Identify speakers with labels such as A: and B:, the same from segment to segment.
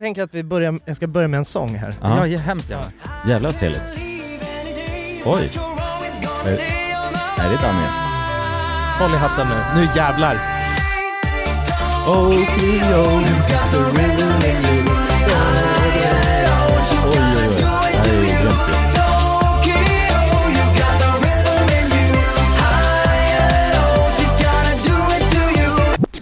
A: tänker att vi börjar, jag ska börja med en sång här.
B: Ja.
C: Ja, hemskt gärna.
B: Jävlar vad trevligt. Oj. Är det Danny?
C: Håll i hatten nu. Nu jävlar.
B: Oj, oj, oj. Det här är ju grymt ju.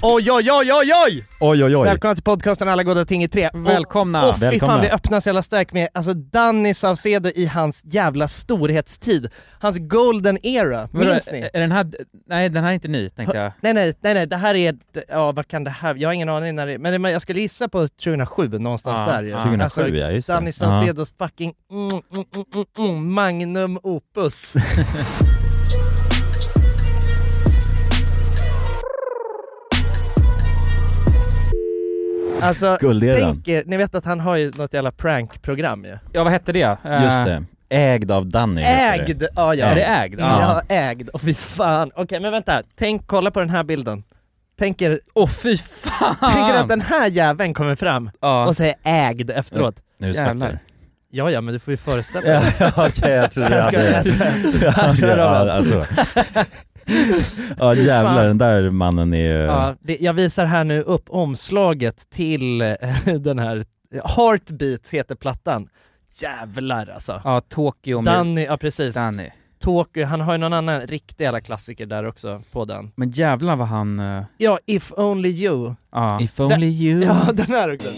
C: Oj, oj, oj, oj, oj!
B: Oj, oj, oj.
A: Välkomna till podcasten Alla goda ting i tre. Och-
C: Välkomna.
A: Och fy fan
B: Välkomna.
A: vi öppnar så jävla starkt med alltså Danny Saucedo i hans jävla storhetstid. Hans golden era, minns
C: Vadå,
A: ni?
C: Är den här... Nej, den här är inte ny, tänkte jag.
A: Nej nej, nej nej, det här är, ja vad kan det här, jag har ingen aning när det men men jag skulle gissa på 2007 någonstans
C: Ja,
A: där ju.
C: ja.
B: 2007
A: alltså,
B: Ah, ja, just det. Ah.
A: Danny Saucedos fucking mm, mm, mm, mm, mm, magnum opus. Alltså,
B: Gulderan.
A: tänk er, ni vet att han har ju något jävla prankprogram ju.
C: Ja, vad hette det? Eh,
B: Just det. Ägd av Danny heter det.
A: Ägd! Ja, ja.
C: Är det ägd?
A: Ja,
C: Ja.
A: ägd. Och fy fan. Okej, men vänta. Tänk, kolla på den här bilden. Tänk er,
C: Åh fy fan!
A: tänk er att den här jäveln kommer fram
C: Ja.
A: och säger ägd efteråt.
B: Nu
C: Jävlar.
B: snackar du.
A: Ja, ja, men du får ju föreställa dig.
B: Ja, Okej, jag trodde jag
A: Jag ska-
B: hade...
A: jag ska-
B: Ja,
A: Kör av.
B: ja, alltså. ja jävlar, den där mannen är ju...
A: Ja, det, jag visar här nu upp omslaget till eh, den här, Heartbeat heter plattan. Jävlar alltså.
C: Ja, Tokyo med
A: Danny, ja precis.
C: Danny.
A: Tokyo, han har ju någon annan riktig jävla klassiker där också på den.
C: Men jävlar vad han... eh,
A: Ja, If Only You.
C: Ja.
B: If only you...
A: Ja, den här också.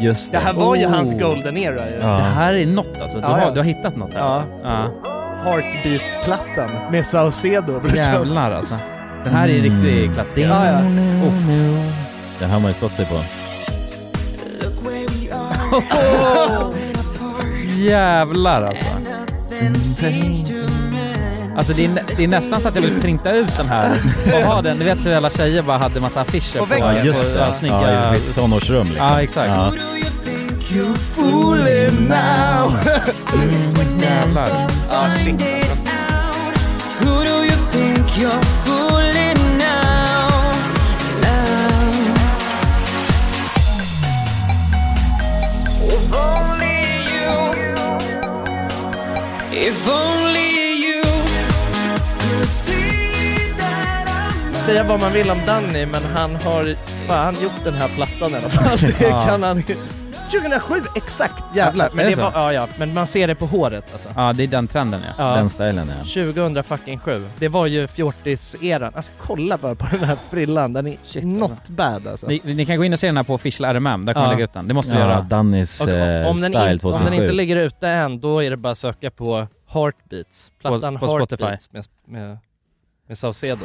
B: Just
A: Det
B: det.
A: här var ju
C: Oh.
A: hans golden era ju.
C: Det
B: Ja.
C: här är något alltså. Du,
A: Ja, ja.
C: har, du har hittat något här
A: Ja.
C: alltså. Ja.
A: Heartbeats-plattan med Saucedo. brorsan.
C: Jävlar alltså. Den här är en
B: Mm.
C: riktig klassiker.
A: Ja, ja.
B: Den här har man ju stått sig på.
C: Jävlar alltså. Alltså det är, nä- det är nästan så att jag vill printa ut den här och ha den. Du vet hur alla tjejer bara hade massa affischer på,
A: väggen.
B: Ja, just
C: på
B: det.
C: snygga...
B: Ja, i sitt tonårsrum liksom.
C: Ja, exakt.
B: Ja.
C: Jävlar.
D: If only you could see that I'm
A: Säga vad man vill om Danny, men han har fan gjort den här plattan i alla fall. Det
C: Ja.
A: kan han 2007, exakt jävlar.
C: Ja,
A: Men,
C: är
A: det
C: det så?
A: var, ja, ja, men man ser det på håret alltså.
C: Ja, det är den trenden ja.
A: Ja.
B: Den stilen ja.
A: 2007. Det var ju fjortis-eran. Alltså kolla bara på den här frillan, den är
C: Shit,
A: not bad alltså.
C: Ni, ni kan gå in och se den här på official RMM, där kommer
A: Ja.
C: jag lägga ut den. Det måste vi
B: Ja,
C: göra.
B: Dannys
A: Och
B: eh,
A: om, den
B: style
A: in, om den inte
B: 2007.
A: ligger ute än, då är det bara att söka på Heartbeats. Plattan
C: på Spotify.
A: Heartbeats med, med, med Saucedo.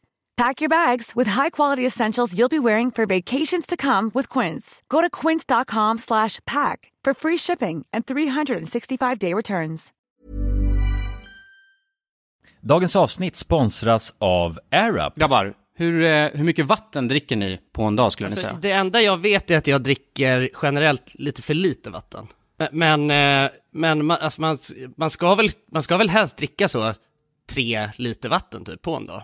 E: Pack your bags with high-quality essentials you'll be wearing for vacations to come with Quince. Go to quince.com slash pack for free shipping and 365-day returns.
B: Dagens avsnitt sponsras av AirUp.
F: Grabbar, hur, eh, hur mycket vatten dricker ni på en dag skulle ni
A: Alltså,
F: säga?
A: det enda jag vet är att jag dricker generellt lite för lite vatten.
G: Men, eh, men man, alltså man, man, ska väl, man ska väl helst dricka så tre liter vatten typ på en dag.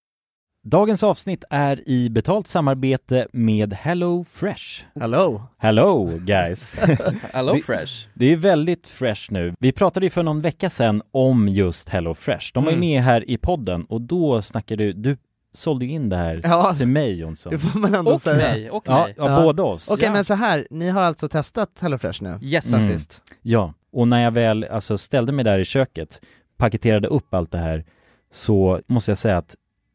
B: Dagens avsnitt är i betalt samarbete med Hello Fresh.
A: Hello!
B: Hello guys!
F: Hello
B: Det-
F: Fresh.
B: Det är väldigt fresh nu. Vi pratade ju för någon vecka sedan om just Hello Fresh. De var ju
F: Mm.
B: med här i podden och då snackade du, du sålde ju in det här
A: Ja,
B: till mig Jonsson.
A: det får man ändå
F: Och
A: säga.
F: mig, och
B: Ja,
F: mig.
B: ja,
A: Ja.
B: båda oss.
A: Okej
F: Ja.
A: men så här, ni har alltså testat HelloFresh nu?
F: Yes.
A: Sen
B: Mm.
A: sist?
B: Ja, och när jag väl alltså, ställde mig där i köket, paketerade upp allt det här, så måste jag säga att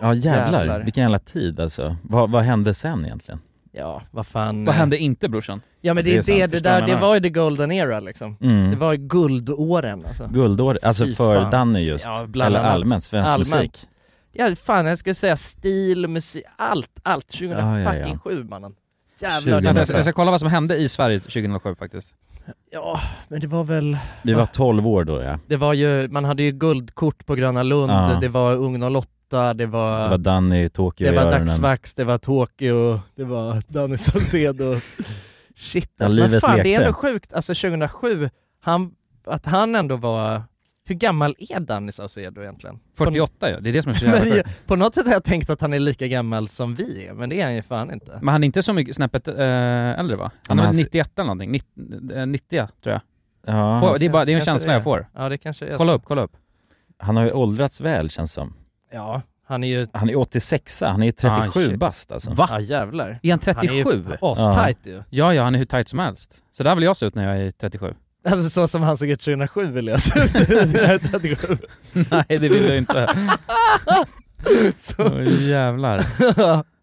B: Ja jävlar,
A: Jävlar.
B: vilken jävla tid alltså. Vad, vad hände sen egentligen?
A: Ja, vad fan.
F: Vad hände inte brorsan?
A: Ja men det är
B: Det är
A: det,
B: sant,
A: det
B: förstår vad
A: där,
B: jag
A: det
B: menar.
A: var ju the golden era liksom.
B: Mm.
A: Det var ju guldåren alltså.
B: Guldår, alltså
A: Fy
B: för
A: fan.
B: Danny just.
A: Ja, bland
B: Eller
A: annat.
B: allmänt svensk
A: Allmänt.
B: musik.
A: Ja fan jag skulle säga stil, musik, allt, allt. 2007
B: Ja, ja, ja.
A: mannen.
B: Jävlar. 2007.
F: Vänta, jag, ska, jag ska kolla vad som hände i Sverige 2007 faktiskt.
A: Ja, men det var väl,
B: Vi var 12 år då ja.
A: det var ju, man hade ju guldkort på Gröna Lund,
B: Ja.
A: det var Ung 08, det var,
B: Det var Danny i Tokyo
A: det
B: i
A: var
B: öronen.
A: Dagsvax, det var Tokyo, det var Danny Saucedo. Shit
B: Ja,
A: alltså, men
B: livet
A: fan det
B: lekte.
A: är ändå sjukt, alltså 2007, han, att han ändå var, hur gammal är Danny Saucedo egentligen?
F: 48 ju, det är det som är så jävla
A: Men
F: sjukt.
A: det- på något sätt har jag tänkt att han är lika gammal som vi är, men det är han ju fan inte.
F: Men han är inte så mycket snäppet eh, äldre va? Han
B: Men
F: är
B: han-
F: väl 91 eller någonting? 90, eh, 90 tror jag.
B: Ja,
F: Får,
B: han,
F: det, är bara, det är en
A: kanske
F: känsla
A: det.
F: jag får.
A: Ja det kanske är
F: Kolla
A: så.
F: upp, kolla upp.
B: han har ju åldrats väl känns som.
A: Ja, han är ju,
B: Han är 86 han är
F: Ah,
B: 37
F: shit.
B: bast alltså.
F: Va?
A: ja jävlar.
F: Är han
A: Han är
F: 37?
A: ju astajt ju.
F: Ja, ja, han är hur tight som helst. Så där vill jag se ut när jag är 37.
A: Alltså så som han såg ut 2007 vill jag se ut när jag är 37.
F: Nej, det vill du inte.
A: Så-
F: Åh jävlar.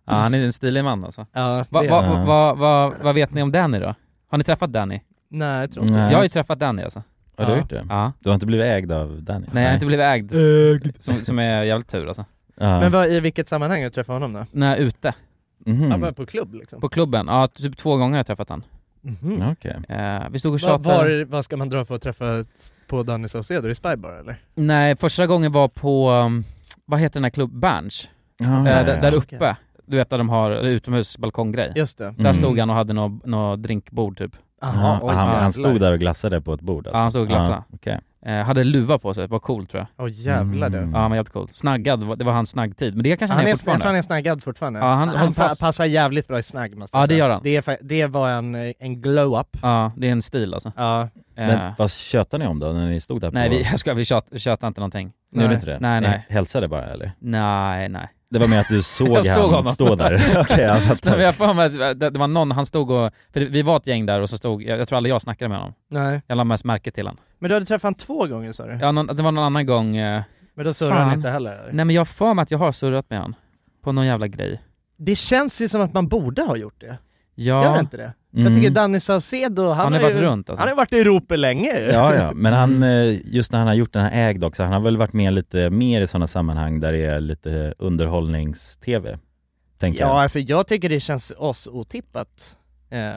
F: Ja, han är en stilig man alltså.
A: Ja,
F: Va,
A: det-
F: va,
B: Ja.
F: va, va, vad vet ni om Danny då? Har ni träffat Danny?
A: Nej jag tror inte
B: Nej.
F: Jag har ju träffat Danny alltså.
B: Har du
A: Ja.
B: gjort det?
F: Ja.
B: Du har inte blivit ägd av Danny?
F: Nej, jag har inte blivit ägd.
A: Ägd.
F: Som, som är jävligt tur alltså.
B: Ja.
A: Men vad, i vilket sammanhang har du träffat honom då?
F: När jag är ute,
B: Mhm.
A: Ja, bara på klubb liksom?
F: på klubben, ja typ två gånger har jag träffat han.
A: Mhm.
B: Ja, Okej.
F: Eh, vi stod och
A: Va,
F: tjatade.
A: var, vad ska man dra för att träffa på Danny Saucedo i Spy Bar eller?
F: Nej, första gången var på, um, vad heter den här klubben, Berns?
B: Ja,
F: Eh,
B: ja,
F: d-
B: ja.
F: Där uppe, du vet där de har eller utomhusbalkonggrej.
A: Just det.
F: Där
B: Mm.
F: stod han och hade något nå drinkbord typ.
B: Ja, han, han
A: jävlar.
B: stod där och glassade på ett bord alltså.
F: Ja, han stod och glassade.
B: Ja, okej.
F: Eh, hade luva på sig, var cool tror jag.
A: Åh jävlar
B: Mm.
A: du.
F: Ja, han var jävligt cool. Snaggad, var- det var hans snaggtid. Men det kanske han,
A: Han är,
F: är
A: jag tror
F: fortfarande.
A: han är snaggad fortfarande.
F: Ja, han-
A: han
F: håll
A: pa-
F: fast.
A: passar jävligt bra i snagg måste
F: Ja,
A: jag
F: det
A: säga.
F: gör han.
A: Det, är, fa- det var en, eh, en glow-up.
F: Ja, det är en stil alltså.
A: Ja.
B: Men vad tjötade ni om då när ni stod där
F: Nej,
B: på...
F: vi, jag ska, vi tjöt- tjötade inte någonting.
B: Nu är det inte det?
F: Nej,
B: Ni
F: nej.
B: Hälsade bara eller?
F: Nej, nej.
B: Det var med att du såg
F: Jag
B: han stå där? Okej, jag fattar.
F: Nej, men jag får med att det, det var någon, han stod och, för vi var ett gäng där och så stod, jag, jag tror aldrig jag snackade med honom.
A: Nej.
F: Jag lade mest märke till honom.
A: Men du hade träffat honom två gånger sa du?
F: Ja, någon, det var någon annan gång... eh,
A: Men då surrade han
F: fan.
A: inte heller?
F: Nej men jag har för mig att jag har surrat med honom. På någon jävla grej.
A: Det känns ju som att man borde ha gjort det.
F: Ja.
A: Gör det inte det? Jag
B: Mm.
A: tycker Danny Saucedo, han,
F: Han har
A: ju,
F: varit runt, alltså.
A: Han har varit i Europa länge ju.
B: Ja, ja, men han, eh, just när han har gjort den här ägd också, han har väl varit med lite mer i sådana sammanhang där det är lite underhållnings-tv, tänker
A: Ja,
B: jag.
A: alltså jag tycker det känns oss otippat eh,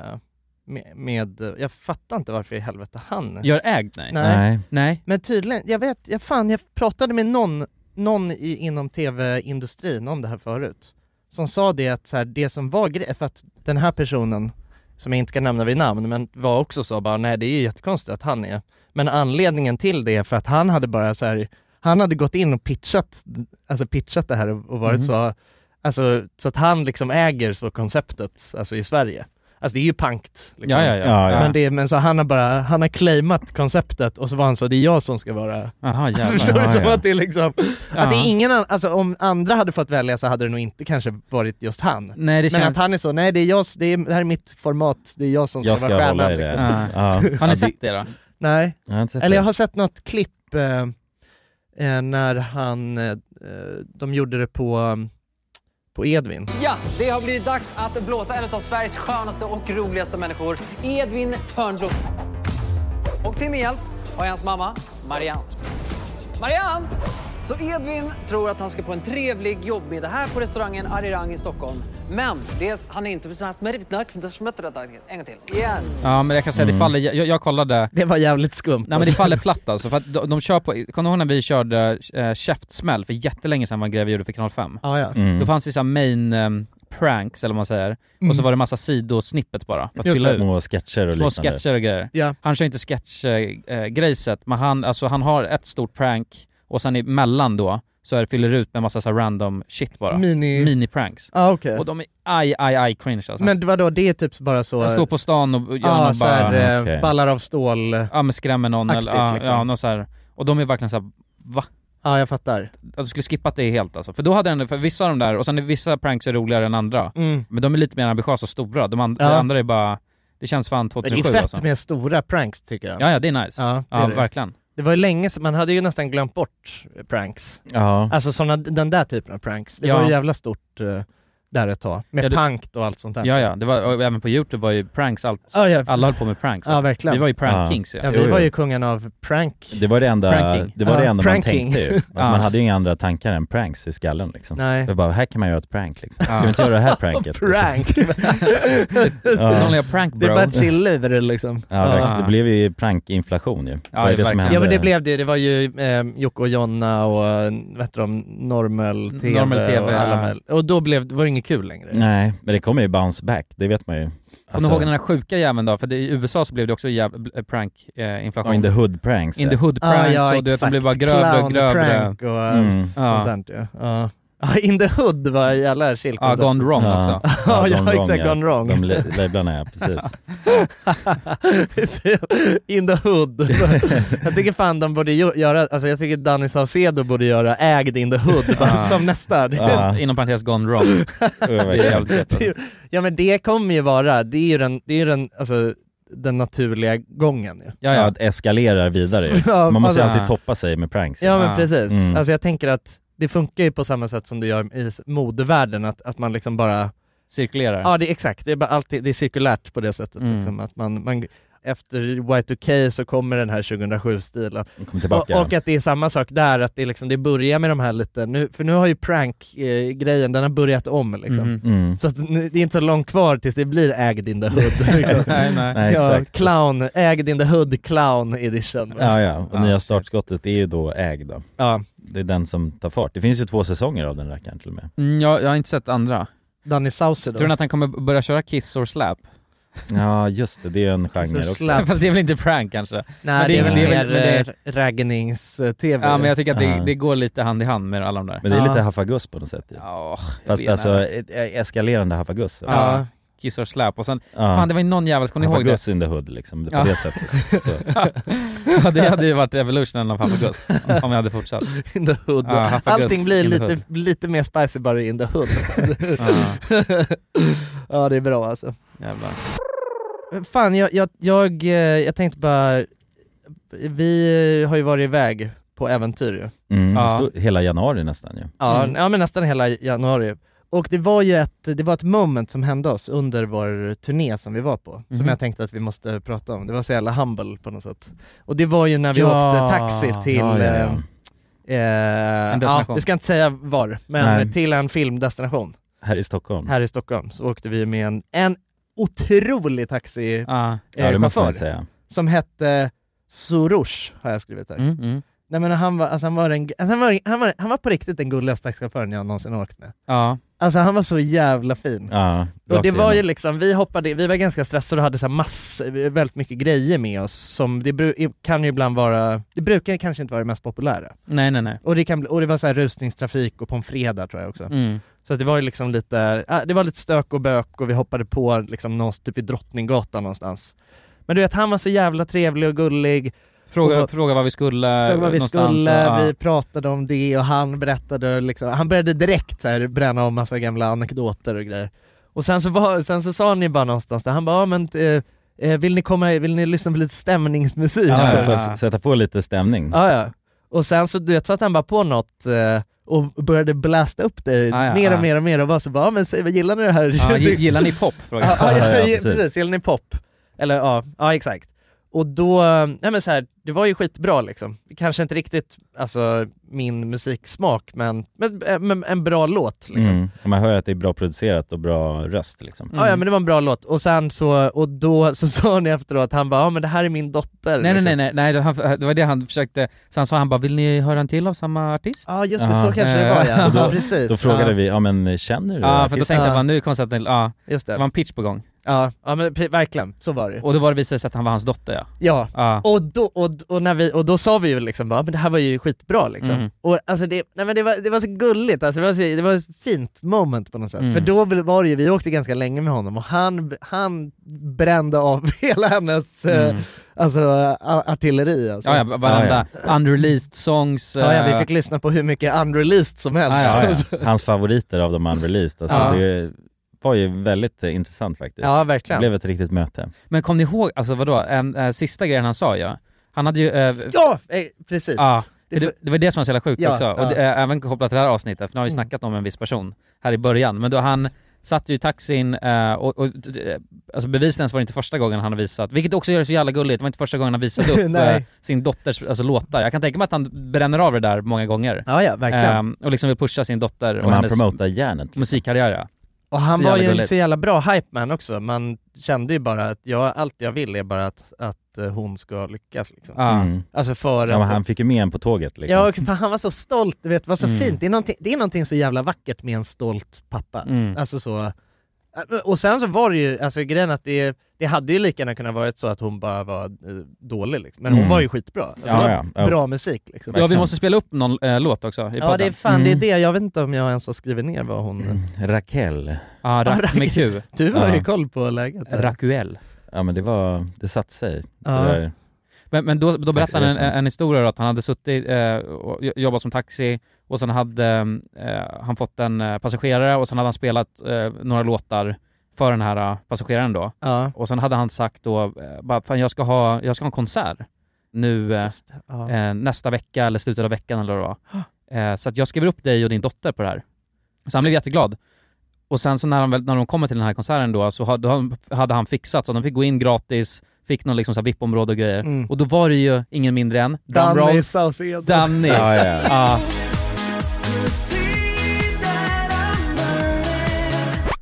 A: med, med, jag fattar inte varför i helvete han...
F: Gör ägd? Nej.
A: Nej.
F: Nej.
A: Men tydligen, jag vet, jag fan jag pratade med någon, någon i, inom tv-industrin om det här förut. Som sa det att så här, det som var grejen, för att den här personen, som jag inte ska nämna vid namn, men var också så bara nej det är ju jättekonstigt att han är. Men anledningen till det är för att han hade bara så här, han hade gått in och pitchat, alltså pitchat det här och och varit
F: Mhm.
A: så, alltså så att han liksom äger så konceptet, alltså i Sverige. Alltså det är ju pankt liksom.
F: Ja, ja, ja.
B: Ja, ja.
A: Men, det, men så han har bara, han har claimat konceptet och så var han så, det är jag som ska vara...
F: Jaha
A: Alltså,
F: jävlar.
A: förstår du?
B: Ja,
A: Som
B: ja.
A: att det är liksom, att det
F: Ja.
A: är ingen annan, alltså om andra hade fått välja så hade det nog inte kanske varit just han.
F: Nej det
A: men
F: känns...
A: att han är så, nej det är jag, det, är, det här är mitt format, det är jag som ska,
B: Jag ska
A: vara stjärnan.
B: hålla i det.
A: Liksom.
F: Ja.
B: Ja.
F: Har
B: Ja,
F: ni sett det då?
A: Nej,
B: Jag har inte sett
A: eller jag
B: det.
A: har sett något klipp eh, eh, när han, eh, de gjorde det på, eh, på Edvin.
H: Ja, det har blivit dags att blåsa en av Sveriges skönaste och roligaste människor, Edvin Törnblom. Och till min hjälp har jag hans mamma, Marianne. Marianne! Så Edvin tror att han ska på en trevlig jobbmiddag här på restaurangen Arirang i Stockholm. Men det är, han är inte besatt med riktigt nöjd. En gång till. Igen.
F: Ja men jag kan säga,
A: Mm.
F: det faller, jag, jag kollade
A: Det var jävligt skumt.
F: Nej men det
A: alltså.
F: faller platt alltså, för att de, de kör på, kommer du ihåg när vi körde eh, käftsmäll för jättelänge sedan var en grej vi gjorde för kanal 5?
A: Ja, ja.
B: Mm.
F: Då fanns det ju såhär main ehm, pranks eller vad man säger, och så var det massa sidosnippet bara för att
A: Mm. Just
F: fylla ut.
B: Små sketcher och
F: Små
B: liknande.
F: sketcher och grejer.
A: Ja.
F: Han kör inte sketchgrejset, eh, grejset, men han, alltså, han har ett stort prank och sen emellan då så är det fyller ut med massa så här random shit bara.
A: Mini...
F: Mini-pranks.
A: ah, okej.
F: Och de är aj, aj, aj cringe alltså.
A: Men vadå, det är typ bara
F: han
A: så...
F: står på stan och gör
A: Ja,
F: någon
A: så
F: bara...
A: här, eh,
B: Okej.
A: ballar av stål. Ja,
F: ja men skrämmer någon
A: Aktigt,
F: eller ja,
A: liksom.
F: ja, någon så här. Och de är verkligen så här, va?
A: jag fattar.
F: Alltså skulle skippat det helt alltså. För då hade den, för vissa av de där, och sen är vissa pranks är roligare än andra.
A: Mm.
F: Men de är lite mer ambitiösa och stora, de, and-
A: Ja.
F: de andra är bara, det känns fan
A: Men det
F: 2007
A: är fett
F: alltså.
A: med stora pranks tycker jag.
F: Ja ja, det är nice. Ja,
A: Ja, det, är det.
F: verkligen.
A: det var ju länge sedan, man hade ju nästan glömt bort eh, pranks.
B: Ja.
A: Alltså såna, den där typen av pranks. Det
F: Mm. Ja.
A: var ju jävla stort eh, där ett tag. Med
F: Ja, det-
A: pankt och allt sånt där.
F: Ja ja, det var, och även på youtube var ju pranks allt,
A: Ja, ja.
F: alla höll på med pranks.
A: ja verkligen.
F: Vi var ju prank
B: Ja.
F: kings ja.
A: ja,
B: Jo,
A: vi
B: jo.
A: var ju kungen av prank.
B: Det var det enda,
F: Pranking.
B: det var det
A: Ja,
B: enda man
A: pranking.
B: tänkte ju. Att
F: Ja.
B: Man hade ju inga andra tankar än pranks i skallen liksom.
A: Nej.
B: Det var bara, här kan man göra ett prank liksom. Ska vi inte göra det här pranket? liksom?
A: Prank!
F: Det är
B: Ja.
F: vanliga prank
A: det är
F: bro.
A: bara att chilla över det liksom.
B: Ja, verkligen. Det blev ju prankinflation ju.
F: Ja,
B: Vad är det som
F: verkligen.
B: hände?
A: Ja men det blev det ju. det var ju eh, Jocke och Jonna och eh, vad heter de, Normal TV,
F: Normal TV,
A: och,
F: ja.
A: alla möjliga- och då blev, var det inget kul längre.
B: Nej, men det kommer ju bounce back, det vet man ju.
F: Kommer ni
A: alltså.
F: ihåg den här sjuka jäveln då? För det, i USA så blev det också eh, jäv- prank-inflation.
B: Ja, Alltså, in the hood pranks.
F: in the hood
A: Ja,
F: pranks och
A: ja,
F: du vet, de
A: exakt.
F: blev bara grövre och grövre.
A: Clownprank och allt
B: Mm.
A: sånt där ju. Ja. Ja, In the hood var en jävla alltså. chill
F: Ja, gone wrong
B: Ja.
F: också.
A: Ja,
B: gone
A: ja,
B: wrong,
A: exakt,
B: ja.
A: gone wrong.
B: De la- lablarna, ja precis.
A: In the hood. jag tycker fan de borde ju- göra, alltså jag tycker Danny Saucedo borde göra ägd in the hood bara,
F: Ja.
A: som nästa. Det-
B: Ja.
F: Inom parentes gone wrong. Det är jävligt gött.
A: det- Ja men det kommer ju vara, det är ju den, det är ju den, alltså, den naturliga gången ju.
F: Ja,
B: Ja,
F: ja.
B: att eskalera vidare ju.
A: Ja,
B: Man måste ju
F: alltså-
B: alltid toppa sig med pranks.
A: Ja
F: Ja.
A: men precis,
B: Mm.
A: alltså jag tänker att det funkar ju på samma sätt som du gör i s- modevärlden, att, att man liksom bara
F: Cirkulerar.
A: Ja, det är exakt. Det är, bara alltid, det är cirkulärt på det sättet.
F: Mm.
A: Liksom, att man, man, efter Y2K så kommer den här 2007-stilen.
B: Kom
A: Och,
B: tillbaka.
A: och att det är samma sak där, att det, är liksom, det börjar med de här lite, nu, för nu har ju prank-grejen, den har börjat om liksom.
F: Mhm.
B: mm.
A: Så att, nu- det är inte så långt kvar tills det blir ägd in the hood. Liksom.
F: nej, nej.
B: Nej,
A: ja,
B: exakt.
A: clown, ägd in the hood, clown edition.
B: Ja, ja. Och
F: Ja,
B: nya
F: shit.
B: startskottet är ju då ägd då.
A: Ja,
B: Det är den som tar fart. Det finns ju två säsonger av den rackaren till och med.
F: Mm, jag, jag har inte sett andra.
A: Danny Saucedo.
F: Tror ni att han kommer börja köra kiss or slap?
B: Ja, just det. Det är en genre
A: Så
B: också.
A: slapp.
F: Fast det är väl inte prank kanske?
A: Nej,
F: Men
A: det är
F: väl-
A: väl
F: väl- men det
A: mer
F: är-
A: eh, raggningstv.
F: Ja men jag tycker att det,
B: Ja.
F: det går lite hand i hand med alla de där.
B: Men det är
F: Ja.
B: lite haffaguss på något sätt ju.
F: Ja, jag
B: Fast
F: vet
B: alltså,
F: inte.
B: ett- ett eskalerande haffaguss.
F: Ja. Kiss or slap och sen,
B: Ja.
F: fan det var ju någon jävel, kommer ni ihåg det?
B: Haffaguss in the hood liksom, på
F: Ja.
B: det sättet. Så.
F: ja det hade ju varit evolutionen av Haffaguss om jag hade fortsatt.
A: In the hood.
F: Ja, Haffaguss
A: Allting blir
F: in the
A: lite,
F: hood.
A: lite mer spicy bara in the hood. ja, det är bra alltså.
F: Jävlar.
A: Fan, jag, jag, jag, eh, jag tänkte bara, vi har ju varit iväg på äventyr ju.
B: Mm,
F: Ja.
B: stod- Hela januari nästan ju.
A: Ja,
F: Mm.
A: ja men nästan hela januari. Och det var ju ett, det var ett moment som hände oss under vår turné som vi var på,
F: Mhm.
A: som jag tänkte att vi måste prata om. Det var så jävla humble på något sätt. Och det var ju när vi
F: Ja.
A: åkte taxi till,
B: Ja, ja, ja.
A: Eh, eh, ja,
F: destination.
A: vi ska inte säga var, men
B: Nej.
A: till en filmdestination
B: Här i Stockholm.
A: här i Stockholm så åkte vi med en, en otrolig taxichaufför
F: Ja.
B: ja, det måste man ju säga.
A: som hette Soroush har jag skrivit här.
F: Mm, mm.
A: Nej men han var, alltså, han, var en, alltså, han, var, han, var, han var på riktigt den gulligaste taxichauffören jag någonsin har åkt med.
F: ja.
A: Alltså han var så jävla fin.
B: Ja,
A: och
B: rakt
A: det var ju
B: igenom.
A: liksom, vi hoppade vi var ganska stressade och hade så här mass, väldigt mycket grejer med oss som det bru- kan ju ibland vara, det brukar kanske inte vara det mest populära.
F: Nej nej nej.
A: Och det, kan bli, och det var så här rusningstrafik och på en fredag tror jag också.
F: Mm.
A: Så att det var ju liksom lite, ja, det var lite stök och bök och vi hoppade på liksom någonstans, typ vid Drottninggatan någonstans. Men du vet, han var så jävla trevlig och gullig,
F: Fråga,
A: Och-
F: fråga vad vi skulle
A: frågade vad vi
F: Äh, någonstans,
A: skulle,
F: och, ja.
A: vi pratade om det och han berättade liksom, han började direkt så här, bränna om massa gamla anekdoter och grejer. Och sen så, var, sen så sa ni bara någonstans där, han bara, ja, men eh, eh, vill ni komma, vill ni lyssna på lite stämningsmusik?
B: Ja,
A: så,
B: så får jag s- sätta på lite stämning.
A: ja, ja. Och sen så du vet, satt han bara på något eh, och började blasta upp dig
F: Ja, ja,
A: mer och
F: ja.
A: mer och mer och var så bara, ja, men säg, vad gillar ni det här?
F: Ja, gi- gillar ni pop? Fråga.
A: Ja,
B: Ja,
A: ja,
B: ja,
A: precis.
B: precis.
A: precis. Gillar ni pop? Eller ja, ja exakt. Och då, nej men så här, det var ju skitbra liksom. Kanske inte riktigt alltså, min musiksmak men, men, men en bra låt liksom.
B: Mm. Och Man hör ju att det är bra producerat och bra röst liksom.
A: Ja, ja men det var en bra låt och sen så, och då så sa ni efteråt, han bara ja men det här är min dotter.
F: Nej nej
A: liksom.
F: nej, nej, nej det, han, det var det han försökte, så han sa han bara vill ni höra en till av samma artist?
A: Ja just det, så
B: Aha.
A: kanske det var ja.
F: Och då-
A: ja precis.
B: Då frågade
A: ja,
B: vi, ja men känner du
F: Ja, för då
B: artisten?
F: tänkte jag
A: Ja.
F: bara nu kommer det att, ja,
A: just
F: det var
A: det.
F: en pitch på gång.
A: Ja, ja men pre- verkligen, så var det ju.
F: Och då var det visade sig att han var hans dotter ja.
A: Ja.
F: ja.
A: Och då, och, och, när vi, och då sa vi ju liksom bara, men det här var ju skitbra liksom.
F: Mm.
A: Och alltså det, nej men det, var, det var så gulligt, alltså det, var så, det var ett fint moment på något sätt.
F: Mm.
A: För då väl var det ju, vi åkte ganska länge med honom och han, han brände av hela hennes eh,
F: Mm.
A: alltså, a- artilleri alltså.
F: Ja, ja, varenda unreleased songs.
A: Ja, ja,
F: eh,
A: vi fick lyssna på hur mycket unreleased som helst.
F: Ja,
B: Ja, ja. Hans favoriter av de unreleased. Alltså,
A: Alltså. Ja.
B: Det var ju väldigt eh, intressant faktiskt.
A: Ja,
B: Det
A: verkligen.
B: blev ett riktigt möte.
F: Men kom ni ihåg, alltså vadå, en, eh, sista grejen han sa ja. Han hade ju... eh,
A: Ja, eh, precis.
F: ja,
A: det-
F: för det, det var det som var så jävla sjukt
A: Ja,
F: också.
A: ja.
F: Och det, eh, även kopplat till det här avsnittet, för nu har vi
A: Mm.
F: snackat om en viss person här i början. Men då han satt ju i taxin eh, och, och eh, alltså bevisligen så var det inte första gången han har visat, vilket också gör det så jävla gulligt, det var inte första gången han visade upp
A: Nej.
F: eh, sin dotters alltså, låtar. Jag kan tänka mig att han bränner av det där många gånger.
A: Ja, ja, verkligen.
F: Eh, och liksom vill pusha sin dotter och
B: Om han
F: hennes
B: promotar järnet.
F: musikkarriär. ja.
A: Och han
F: Så
A: var
F: jävla
A: ju en
F: gulligt.
A: så jävla bra hype man också. Man kände ju bara att jag, allt jag vill är bara att, att eh, hon ska lyckas liksom.
F: Ja.
B: Mm.
A: Alltså för
B: Ja, men
A: att...
B: han fick ju med en på tåget liksom.
A: Ja, och fan, han var så stolt, du vet, det var så
F: Mm.
A: fint. Det är, någonting, det är någonting så jävla vackert med en stolt pappa.
F: Mm.
A: Alltså så... eh, Och sen så var det ju, alltså grejen att det, det hade ju lika gärna kunnat vara så att hon bara var eh, dålig liksom. Men hon
B: Mm.
A: var ju skitbra. Alltså,
B: Ja,
A: det var
B: ja, ja.
A: Bra musik liksom.
F: Ja,
A: Ja,
F: vi måste spela upp någon eh, låt också i podden.
A: det är fan det är
B: Mm.
A: det. Jag vet inte om jag ens har skrivit ner vad hon...
B: Raquel.
F: Ja,
A: Ja,
F: Rack Ah, med Q.
A: Du har ju
B: Ja.
A: koll på läget. där.
F: Rakuel.
B: Ja men det var, det satte sig.
A: Ja.
B: Det där.
F: Men, men då, då berättade han en,
B: Taxiresan.
F: en historia då, att han hade suttit eh, och jo- jobbat som taxi och sen hade eh, han fått en eh, passagerare och sen hade han spelat eh, några låtar för den här eh, passageraren då.
A: Ja.
F: Och sen hade han sagt då, eh, bara, fan jag ska ha, jag ska ha en konsert nu eh,
A: Just det. Ja.
F: eh, nästa vecka eller slutet av veckan eller vad det var. Eh, så att jag skriver upp dig och din dotter på det här. Så han blev jätteglad. Och sen så när, han, väl- när de kommer till den här konserten då, så hade han, hade han fixat så de fick gå in gratis, fick någon liksom så här VIP-område och grejer.
A: Mm.
F: Och då var det ju ingen mindre än
A: Danny
F: Drumrolls,
A: Saucedo.
F: Danny.
B: Ja, ja, ja.
F: Ja.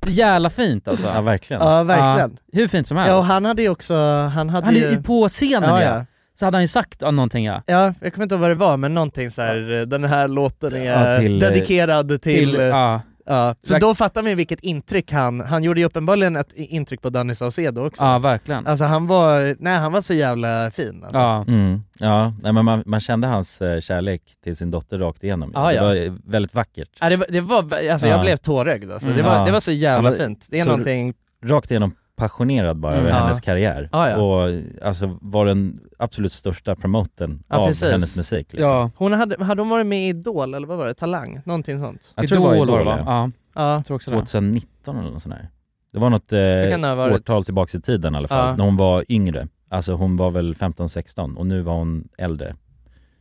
F: Jävla fint alltså.
B: ja verkligen.
A: Ja, verkligen.
F: Ja, hur fint som helst.
A: Ja, och han hade ju också, han hade
F: han är
A: ju...
F: ju på scenen
A: ja,
F: ja,
A: ja.
F: Så hade han ju sagt ja, någonting ja.
A: ja, jag kommer inte ihåg vad det var, men någonting så här, den här låten är
B: Ja, till, eh,
A: dedikerad till,
F: ja. Ja,
A: Så då fattar man ju vilket intryck han, han gjorde ju uppenbarligen ett i- intryck på Danny Saucedo också.
F: Ja, verkligen.
A: Alltså han var, nej han var så jävla fin alltså.
B: Mm. Ja, nej, men man, man kände hans eh, kärlek till sin dotter rakt igenom.
A: Ja,
B: det
A: ja.
B: var eh, väldigt vackert.
A: Ja, det var, det var alltså jag
B: Ja.
A: blev tårögd alltså. det,
B: Mm.
A: var,
B: Ja.
A: det var så jävla
B: Han var
A: fint. Det är
B: så
A: någonting...
B: Rakt igenom passionerad bara
A: Mm.
B: över
A: Ja.
B: hennes karriär.
A: Ja, ja.
B: Och alltså var den absolut största promoten
A: Ja,
B: av
A: precis.
B: hennes musik. Liksom.
A: Hon hade, hade hon varit med i Idol eller vad var det? Talang? Någonting sånt?
B: Jag tror det var Idol, va?
F: Ja.
A: Ja.
F: tror också det.
B: 2019 eller något sånt där. Det var något
A: Så kan det ha
B: eh,
A: varit.
B: årtal tillbaks i tiden i alla fall,
A: Ja.
B: när hon var yngre. Alltså hon var väl 15-16 och nu var hon äldre.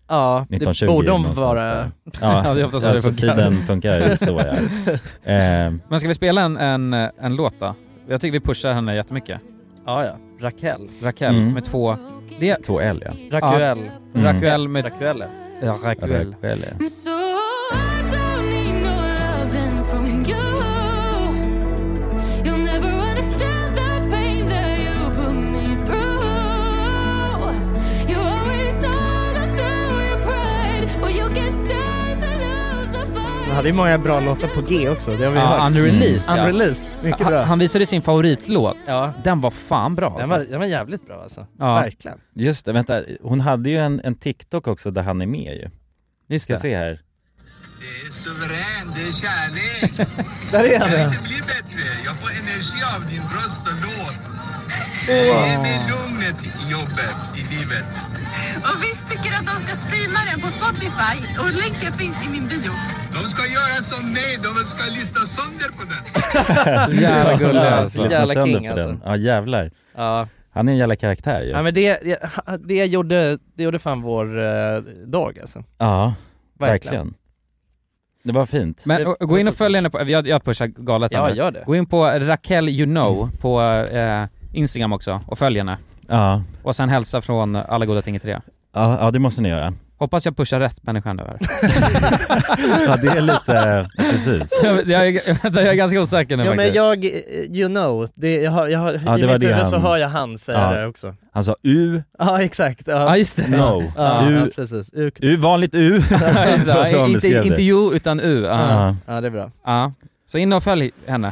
A: Ja, det
B: 1920
A: borde hon
B: någonstans
A: vara.
B: där.
F: Ja,
B: Ja,
F: det är ofta så det
B: alltså
F: funkar.
B: tiden funkar så ja. Eh,
F: Men ska vi spela en, en, en låt då? Jag tycker vi pushar henne jättemycket.
A: Ja, ja. Raquel.
F: Raquel
B: Mm.
F: med två... Det...
B: Två L ja.
A: Raquel.
F: Ja.
B: Mm.
F: Raquel med...
A: Raquel.
F: Ja, Raquel.
B: Raquel ja.
D: So I don't need no loving from you. You'll never understand the pain that you put me through. You always sold out to your pride. Well, you can stand to lose a fight.
A: Hon hade ju många bra låtar på G också, det har vi
F: Ja,
A: hört.
F: unreleased, ja.
A: Unreleased, Mm. mycket bra.
F: Han, han visade sin favoritlåt.
A: Ja.
F: Den var fan bra alltså.
A: Den var, den var jävligt bra alltså.
F: Ja.
A: Verkligen.
B: Just det, vänta. Hon hade ju en, en TikTok också där han är med ju.
F: Just
B: Ska
F: det.
B: se här.
D: Det är suverän, det är kärlek.
A: Där är
D: kan
A: han!
D: inte bli bättre. Jag får energi av din röst och låt. Ge mig lugnet i jobbet, i livet. Och visst tycker att de ska streama den på Spotify. Och länken finns i min bio. De ska göra som mig. De ska lyssna sönder på den.
F: Jävla gullig alltså.
B: Lyssna
A: Jävla
B: sönder
A: king,
B: på den.
A: alltså.
B: Ja jävlar.
A: Ja.
B: Han är en jävla karaktär ju.
A: ja, men det, det- det, gjorde, det gjorde fan vår eh, dag alltså.
B: Ja, verkligen.
A: Verkligen.
B: Det var fint.
F: Men och, gå in och följ henne på... Jag, jag pushar galet här
A: Ja,
F: nu.
A: gör det.
F: Gå in på Raquel You Know på eh, Instagram också och följ henne.
B: Ja,
F: Och sen hälsa från Alla Goda Ting i Tre.
B: ja, ja det måste ni göra.
F: Hoppas jag pushar rätt människa nu här.
B: Ja, det är lite, precis.
F: jag, jag, jag är ganska osäker nu
A: Ja men
F: faktiskt.
A: jag, eh, you know, det, jag, har- jag, har-
B: Ja,
A: i
B: det var
A: mitt
B: det
A: huvud
B: han-
A: så hör jag han säga
B: Ja.
A: det också.
B: Han sa U,
A: Ja exakt, ja.
F: Ja just det.
B: no.
A: Ja, ja
B: U,
A: precis. U-
B: U, vanligt U.
F: Ja, just det.
B: Så han
F: inte,
B: beskrev det.
F: inte you utan u. Ja.
B: Ja.
A: ja det är bra.
F: Ja. Så in och följ henne.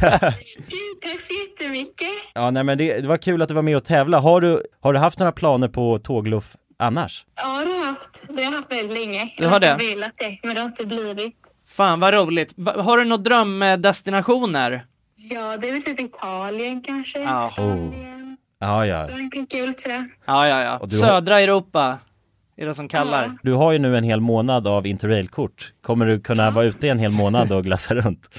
I: Tack så jättemycket.
B: Ja, nej men det, det var kul att du var med och tävla. Har du, har du haft några planer på tågluff annars?
I: Ja, det har jag haft. Det har jag haft väldigt länge.
J: Du har det?
I: Jag har velat det, men det har inte blivit.
J: Fan vad roligt. Va- har du några drömdestinationer?
I: Ja, det är väl typ Italien kanske.
J: Ja.
B: Oh. Ja, ja.
I: Frankrike och lite sådär.
J: Ja, ja, ja.
B: Och du har-
J: Södra Europa är det som kallar.
B: Du har ju nu en hel månad av interrailkort. Kommer du kunna vara ute en hel månad och glassa runt?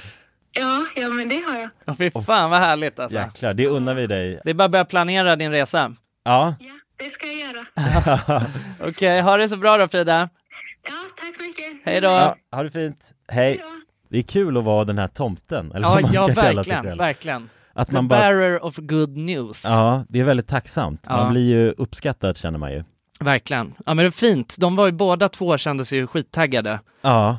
I: Ja, ja, men det har jag.
J: Ja. Fy fan vad härligt alltså.
B: Jäklar, det unnar vi dig.
J: Det är bara att börja planera din resa.
B: Ja.
I: Det ska jag göra.
J: Okej, ha det så bra då Frida.
I: Ja, tack så mycket.
J: Hej då.
B: ja, ha det fint. Hej. Det är kul att vara den här tomten, eller
J: Ja,
B: vad man
J: ja
B: ska kalla sig
J: verkligen,
B: själv.
J: verkligen.
B: Att
J: The
B: man bara-
J: bearer of good news.
B: Ja, det är väldigt tacksamt.
J: Ja.
B: Man blir ju uppskattad känner man ju.
J: Verkligen. Ja men det är fint. De var ju båda två kände sig ju skittaggade
B: Ja,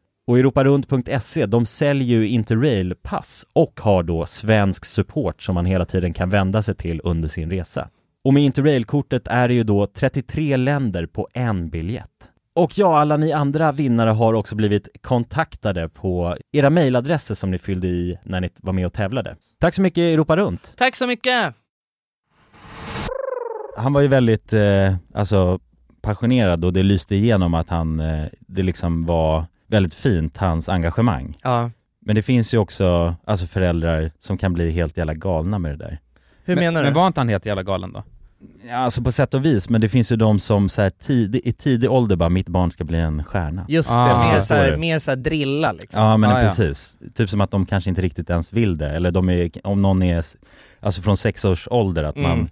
B: Och europarunt.se, E, de säljer ju Interrail-pass och har då svensk support som man hela tiden kan vända sig till under sin resa. Och med Interrail-kortet är det ju då 33 länder på en biljett. Och ja, alla ni andra vinnare har också blivit kontaktade på era mejladresser som ni fyllde i när ni var med och tävlade. Tack så mycket Europa Runt!
J: Tack så mycket!
B: Han var ju väldigt, eh, alltså passionerad och det lyste igenom att han, eh, det liksom var väldigt fint, hans engagemang.
J: Ja.
B: Men det finns ju också, alltså föräldrar som kan bli helt jävla galna med det där.
J: Hur
B: Men-
J: menar du?
B: men var
F: inte han helt jävla galen då?
B: Ja, Alltså på sätt och vis, men det finns ju de som så här tid, i tidig ålder bara, mitt barn ska bli en stjärna.
A: Just
F: Ah.
A: det,
B: Förstår
A: mer, så här,
B: du?
A: mer så här drilla liksom.
B: Ja men
A: Ah, ja.
B: precis, typ som att de kanske inte riktigt ens vill det, eller de är, om någon är, alltså från sex års ålder att
A: Mm.
B: man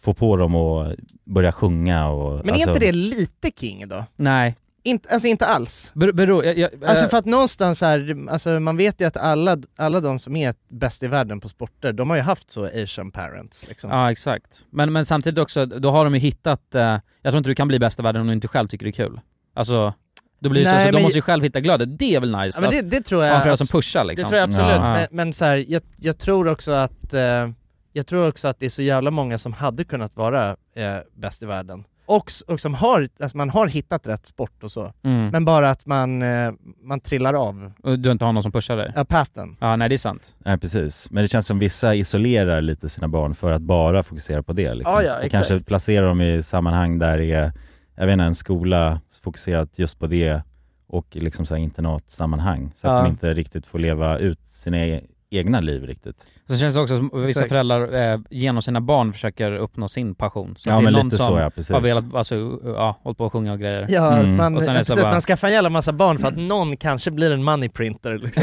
B: får på dem att börja sjunga och
A: Men är
B: alltså,
A: inte det lite King då?
F: Nej.
A: Inte, alltså inte alls.
F: Beror, jag, jag,
A: Alltså
F: eh,
A: för att någonstans här, alltså man vet ju att alla, alla de som är bäst i världen på sporter, de har ju haft så asian parents liksom.
F: Ja, exakt. Men, men samtidigt också, då har de ju hittat, eh, jag tror inte du kan bli bäst i världen om du inte själv tycker det är kul. Alltså, då blir det
A: Nej,
F: så, så de
A: men-
F: måste ju själv hitta glöden. Det är väl nice?
A: Ja, men
F: att
A: det, det tror
F: ha
A: jag...
F: en förälder som
A: abs-
F: pushar liksom.
A: Det tror jag absolut,
F: Ja.
A: men, men så här, jag, jag tror också att eh, jag tror också att det är så jävla många som hade kunnat vara eh, bäst i världen och, s- och som har, alltså man har hittat rätt sport och så.
F: Mm.
A: Men bara att man, eh, man trillar av
F: Och Du inte har någon som pushar dig?
A: ja, pathen.
F: Ja, nej det är sant.
B: Nej precis, men det känns som vissa isolerar lite sina barn för att bara fokusera på det liksom.
A: Ja, ja,
B: Och
A: exakt.
B: kanske placerar dem i sammanhang där det är, jag vet inte, en skola fokuserat just på det och liksom så här internatsammanhang så att
F: Ja.
B: de inte riktigt får leva ut sina e- egna liv riktigt.
F: Så känns det också som vissa
B: Exakt.
F: föräldrar eh, genom sina barn försöker uppnå sin passion. Så
B: Ja,
F: att det är
B: men
F: någon
B: lite
F: som
B: så, ja, precis.
F: har velat, alltså, ja, hållit på och sjunga och grejer.
A: Ja,
F: Mm.
A: man,
F: och sen är det så bara,
A: precis,
F: Mm.
A: man skaffar en jävla massa barn för att någon kanske blir en moneyprinter liksom.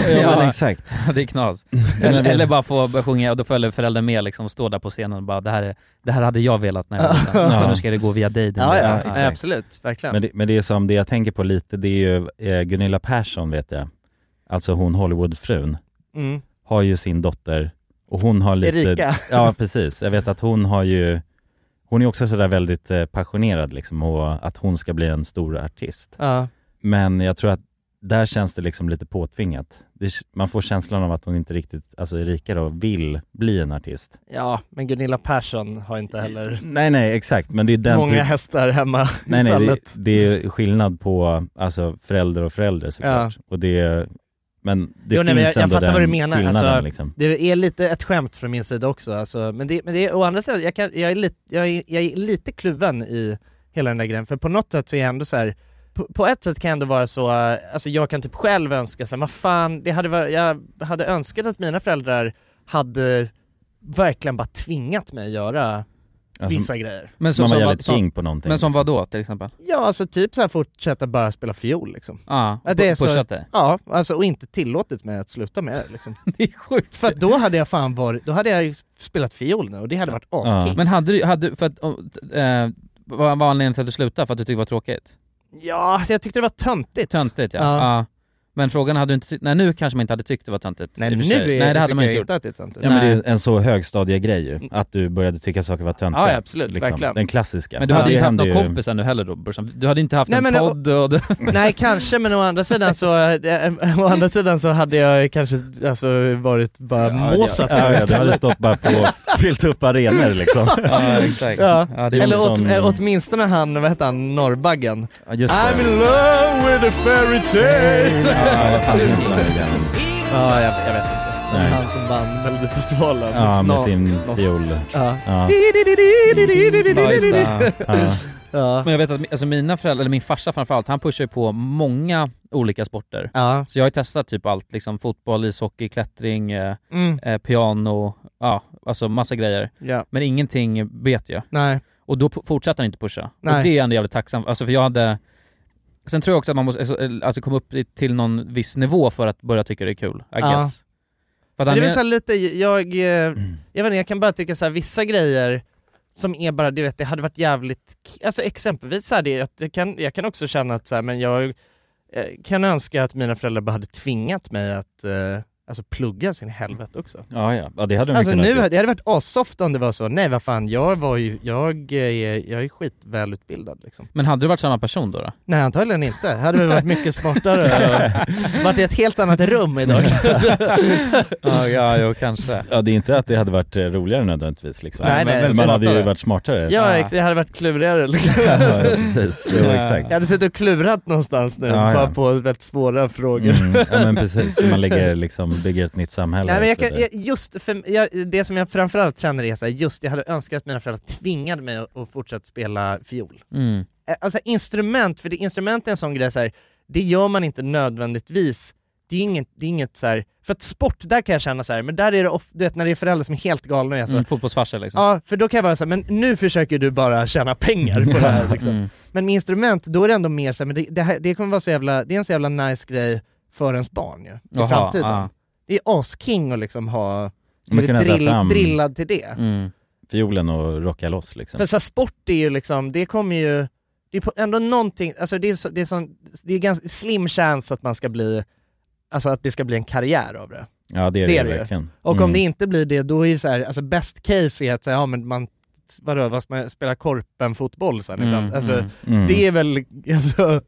B: exakt.
F: det är knas. Eller, eller bara få börja sjunga och då följer föräldern med liksom, och står där på scenen och bara det här, är, det här hade jag velat när jag var liten.
B: Ja.
F: Så nu ska det gå via dig. din
A: Ja,
F: jävla-
A: ja, ja, absolut, verkligen.
B: Men det, men det är som det jag tänker på lite, det är ju eh, Gunilla Persson vet jag, alltså hon Hollywoodfrun,
A: Mm.
B: har ju sin dotter och hon har lite...
A: Erika.
B: Ja precis, jag vet att hon har ju, hon är också sådär väldigt eh, passionerad liksom och att hon ska bli en stor artist.
A: Ja.
B: Men jag tror att där känns det liksom lite påtvingat. Det, man får känslan av att hon inte riktigt, alltså Erika då, vill bli en artist.
A: Ja, men Gunilla Persson har inte heller
B: Nej nej exakt, men det är den... typ-
F: typ-
A: många hästar hemma
B: Nej, nej, det,
A: istället.
B: det är skillnad på alltså, förälder och förälder såklart. Och det, men det
A: Jo,
B: finns
A: nej, men jag, jag
B: ändå
A: fattar
B: den
A: vad du menar.
B: skillnaden
A: Alltså,
B: liksom.
A: Det är lite ett skämt från min sida också, alltså, men, det, men det är å andra sidan, jag, kan, jag, är lite, jag, är, jag är lite kluven i hela den där grejen, för på något sätt så är jag ändå så här. På, på ett sätt kan jag ändå vara så, eh, alltså jag kan typ själv önska så här, vad fan, det hade varit, jag hade önskat att mina föräldrar hade verkligen bara tvingat mig att göra
B: Alltså,
A: vissa grejer.
F: Men så-
B: man var
F: som-
B: jävligt
F: som-
B: king på någonting.
F: Men som vad då till exempel?
A: Ja, alltså typ så här fortsätta bara spela fiol liksom.
F: Ja,
A: Ja, det är så-
F: pushat dig?
A: Ja, alltså och inte tillåtit mig att sluta med det liksom. det är sjukt. För att då hade jag fan varit, då hade jag ju spelat fiol nu och det hade varit askul.
F: Men hade du, hade, du- för att, om, eh, vad var anledningen till att du slutade? För att du tyckte det var tråkigt?
A: Ja, alltså jag tyckte det var töntigt.
F: Töntigt ja.
A: Ja.
F: ja. Men frågan hade du inte tyckt, nej nu kanske man inte hade tyckt det var töntigt
A: Nej,
F: i och för
A: nu
F: sig.
A: är-
F: Nej det hade
A: tycker
F: man
A: jag
F: inte gjort.
A: inte att det är töntigt.
B: Ja men det
F: Nej.
B: är en så högstadiegrej ju, att du började tycka saker var töntiga.
A: Ja, ja, absolut, verkligen.
B: Den klassiska.
F: Men du hade
B: liksom. Det
F: inte haft
B: händer
F: någon
B: ju-
F: kompis ännu heller då Bursan. Du hade inte haft
A: Nej,
F: en
A: men-
F: podd och... du-
A: Nej kanske, men å andra sidan så, eh, å andra sidan så hade jag kanske alltså, varit bara
F: det-
A: måsat
B: Ja, ja, du hade
A: istället.
B: stått bara på, fyllt upp arenor liksom.
F: ja exakt.
A: Ja.
F: Ja, det är
A: Eller
F: så.
A: åt,
B: sån-
A: eh, åtminstone han, vad hette han, Norrbaggen?
B: Ja, just det.
A: I'm in love with a fairy tale!
B: Ja, vad fan heter den där grejen?
A: Ja, jag, jag vet inte.
B: Nej.
A: Han som vann Melodifestivalen.
B: Ja, med
A: Nå-
B: sin
A: nå-
B: fiol.
A: Ja.
B: Ja.
F: Ja, just det. Ja.
B: Ja.
A: Ja.
F: Men jag vet att alltså, mina föräldrar, eller min farsa framförallt, han pushar ju på många olika sporter.
A: Ja.
F: Så jag har ju testat typ allt, liksom fotboll, ishockey, klättring, eh,
A: Mm.
F: eh, piano, ja alltså massa grejer.
A: Ja.
F: Men ingenting bet jag.
A: Nej.
F: Och då p- fortsatte han inte pusha.
A: Nej.
F: Och det är jag ändå jävligt tacksam alltså för jag hade... Sen tror jag också att man måste alltså, alltså, komma upp i- till någon viss nivå för att börja tycka det är kul, I
A: Ja.
F: guess. För att
A: Men
F: han
A: det är väl
F: är...
A: så här lite, jag, eh, jag
B: Mm.
A: vet inte, jag kan bara tycka så här, vissa grejer som är bara, du vet, det hade varit jävligt, k- alltså exempelvis så här, det, jag, jag, kan, jag kan också känna att så här, men jag eh, kan önska att mina föräldrar bara hade tvingat mig att eh, alltså plugga sin helvete också.
B: Ja, ja. ja, det hade de
A: Alltså
B: kunnat
A: nu,
B: göra.
A: det hade varit assoft om det var så, nej vad fan, jag var ju, jag, eh, är- jag är skitvälutbildad liksom.
F: Men hade du varit samma person då? då?
A: Nej antagligen inte, det hade väl varit mycket smartare och varit i ett helt annat rum idag.
F: ja, ja, jo, kanske.
B: Ja, det är inte att det hade varit eh, roligare nödvändigtvis liksom.
A: Nej, nej.
B: Men man
F: smartare.
B: hade ju varit smartare.
A: Ja, ex- det hade varit klurigare liksom.
B: Ja, precis. Jo, exakt.
A: Jag hade suttit och klurat någonstans nu,
B: Ja, ja.
A: bara på väldigt svåra frågor.
B: Mm, ja men precis, man lägger liksom, bygger ett nytt samhälle
A: Nej, men
B: och
A: jag
B: så
A: kan,
B: vidare.
A: jag, just för, jag, det som jag framförallt känner är så här, just jag hade önskat att mina föräldrar tvingade mig att, att fortsätta spela fiol.
F: Mm.
A: Eh, Alltså instrument, för det, instrument är en sån grej så här, det gör man inte nödvändigtvis. Det är inget, det är inget så här, för att sport, där kan jag känna så här, men där är det ofta, du vet när det är föräldrar som är helt galna och är så,
F: Mm, fotbollsfarsa liksom.
A: ja för då kan jag vara så här, men nu försöker du bara tjäna pengar på det här liksom.
F: Mm.
A: Men med instrument, då är det ändå mer så här, men det, det, här, det kommer vara så jävla, det är en så jävla nice grej för ens barn ju, i
F: Jaha,
A: framtiden.
F: ja.
A: Det är asking att liksom ha,
B: Man
A: blivit
B: kan ändra fram-
A: drillad till det.
F: Mm.
B: Fiolen och rocka loss liksom.
A: För så här, sport är ju liksom, det kommer ju, det är på- ändå någonting, alltså det är, så, det är, sån, det är ganska slim chans att man ska bli, alltså att det ska bli en karriär av det.
B: Ja det är det, ju verkligen.
A: Och om
B: Mm.
A: det inte blir det, då är det så här, alltså best case är att säga, ja men man, vadå, vad ska man spela korpen-fotboll sen i
F: Mm,
A: framtiden? Alltså,
F: mm.
B: Mm.
A: Det är väl, alltså,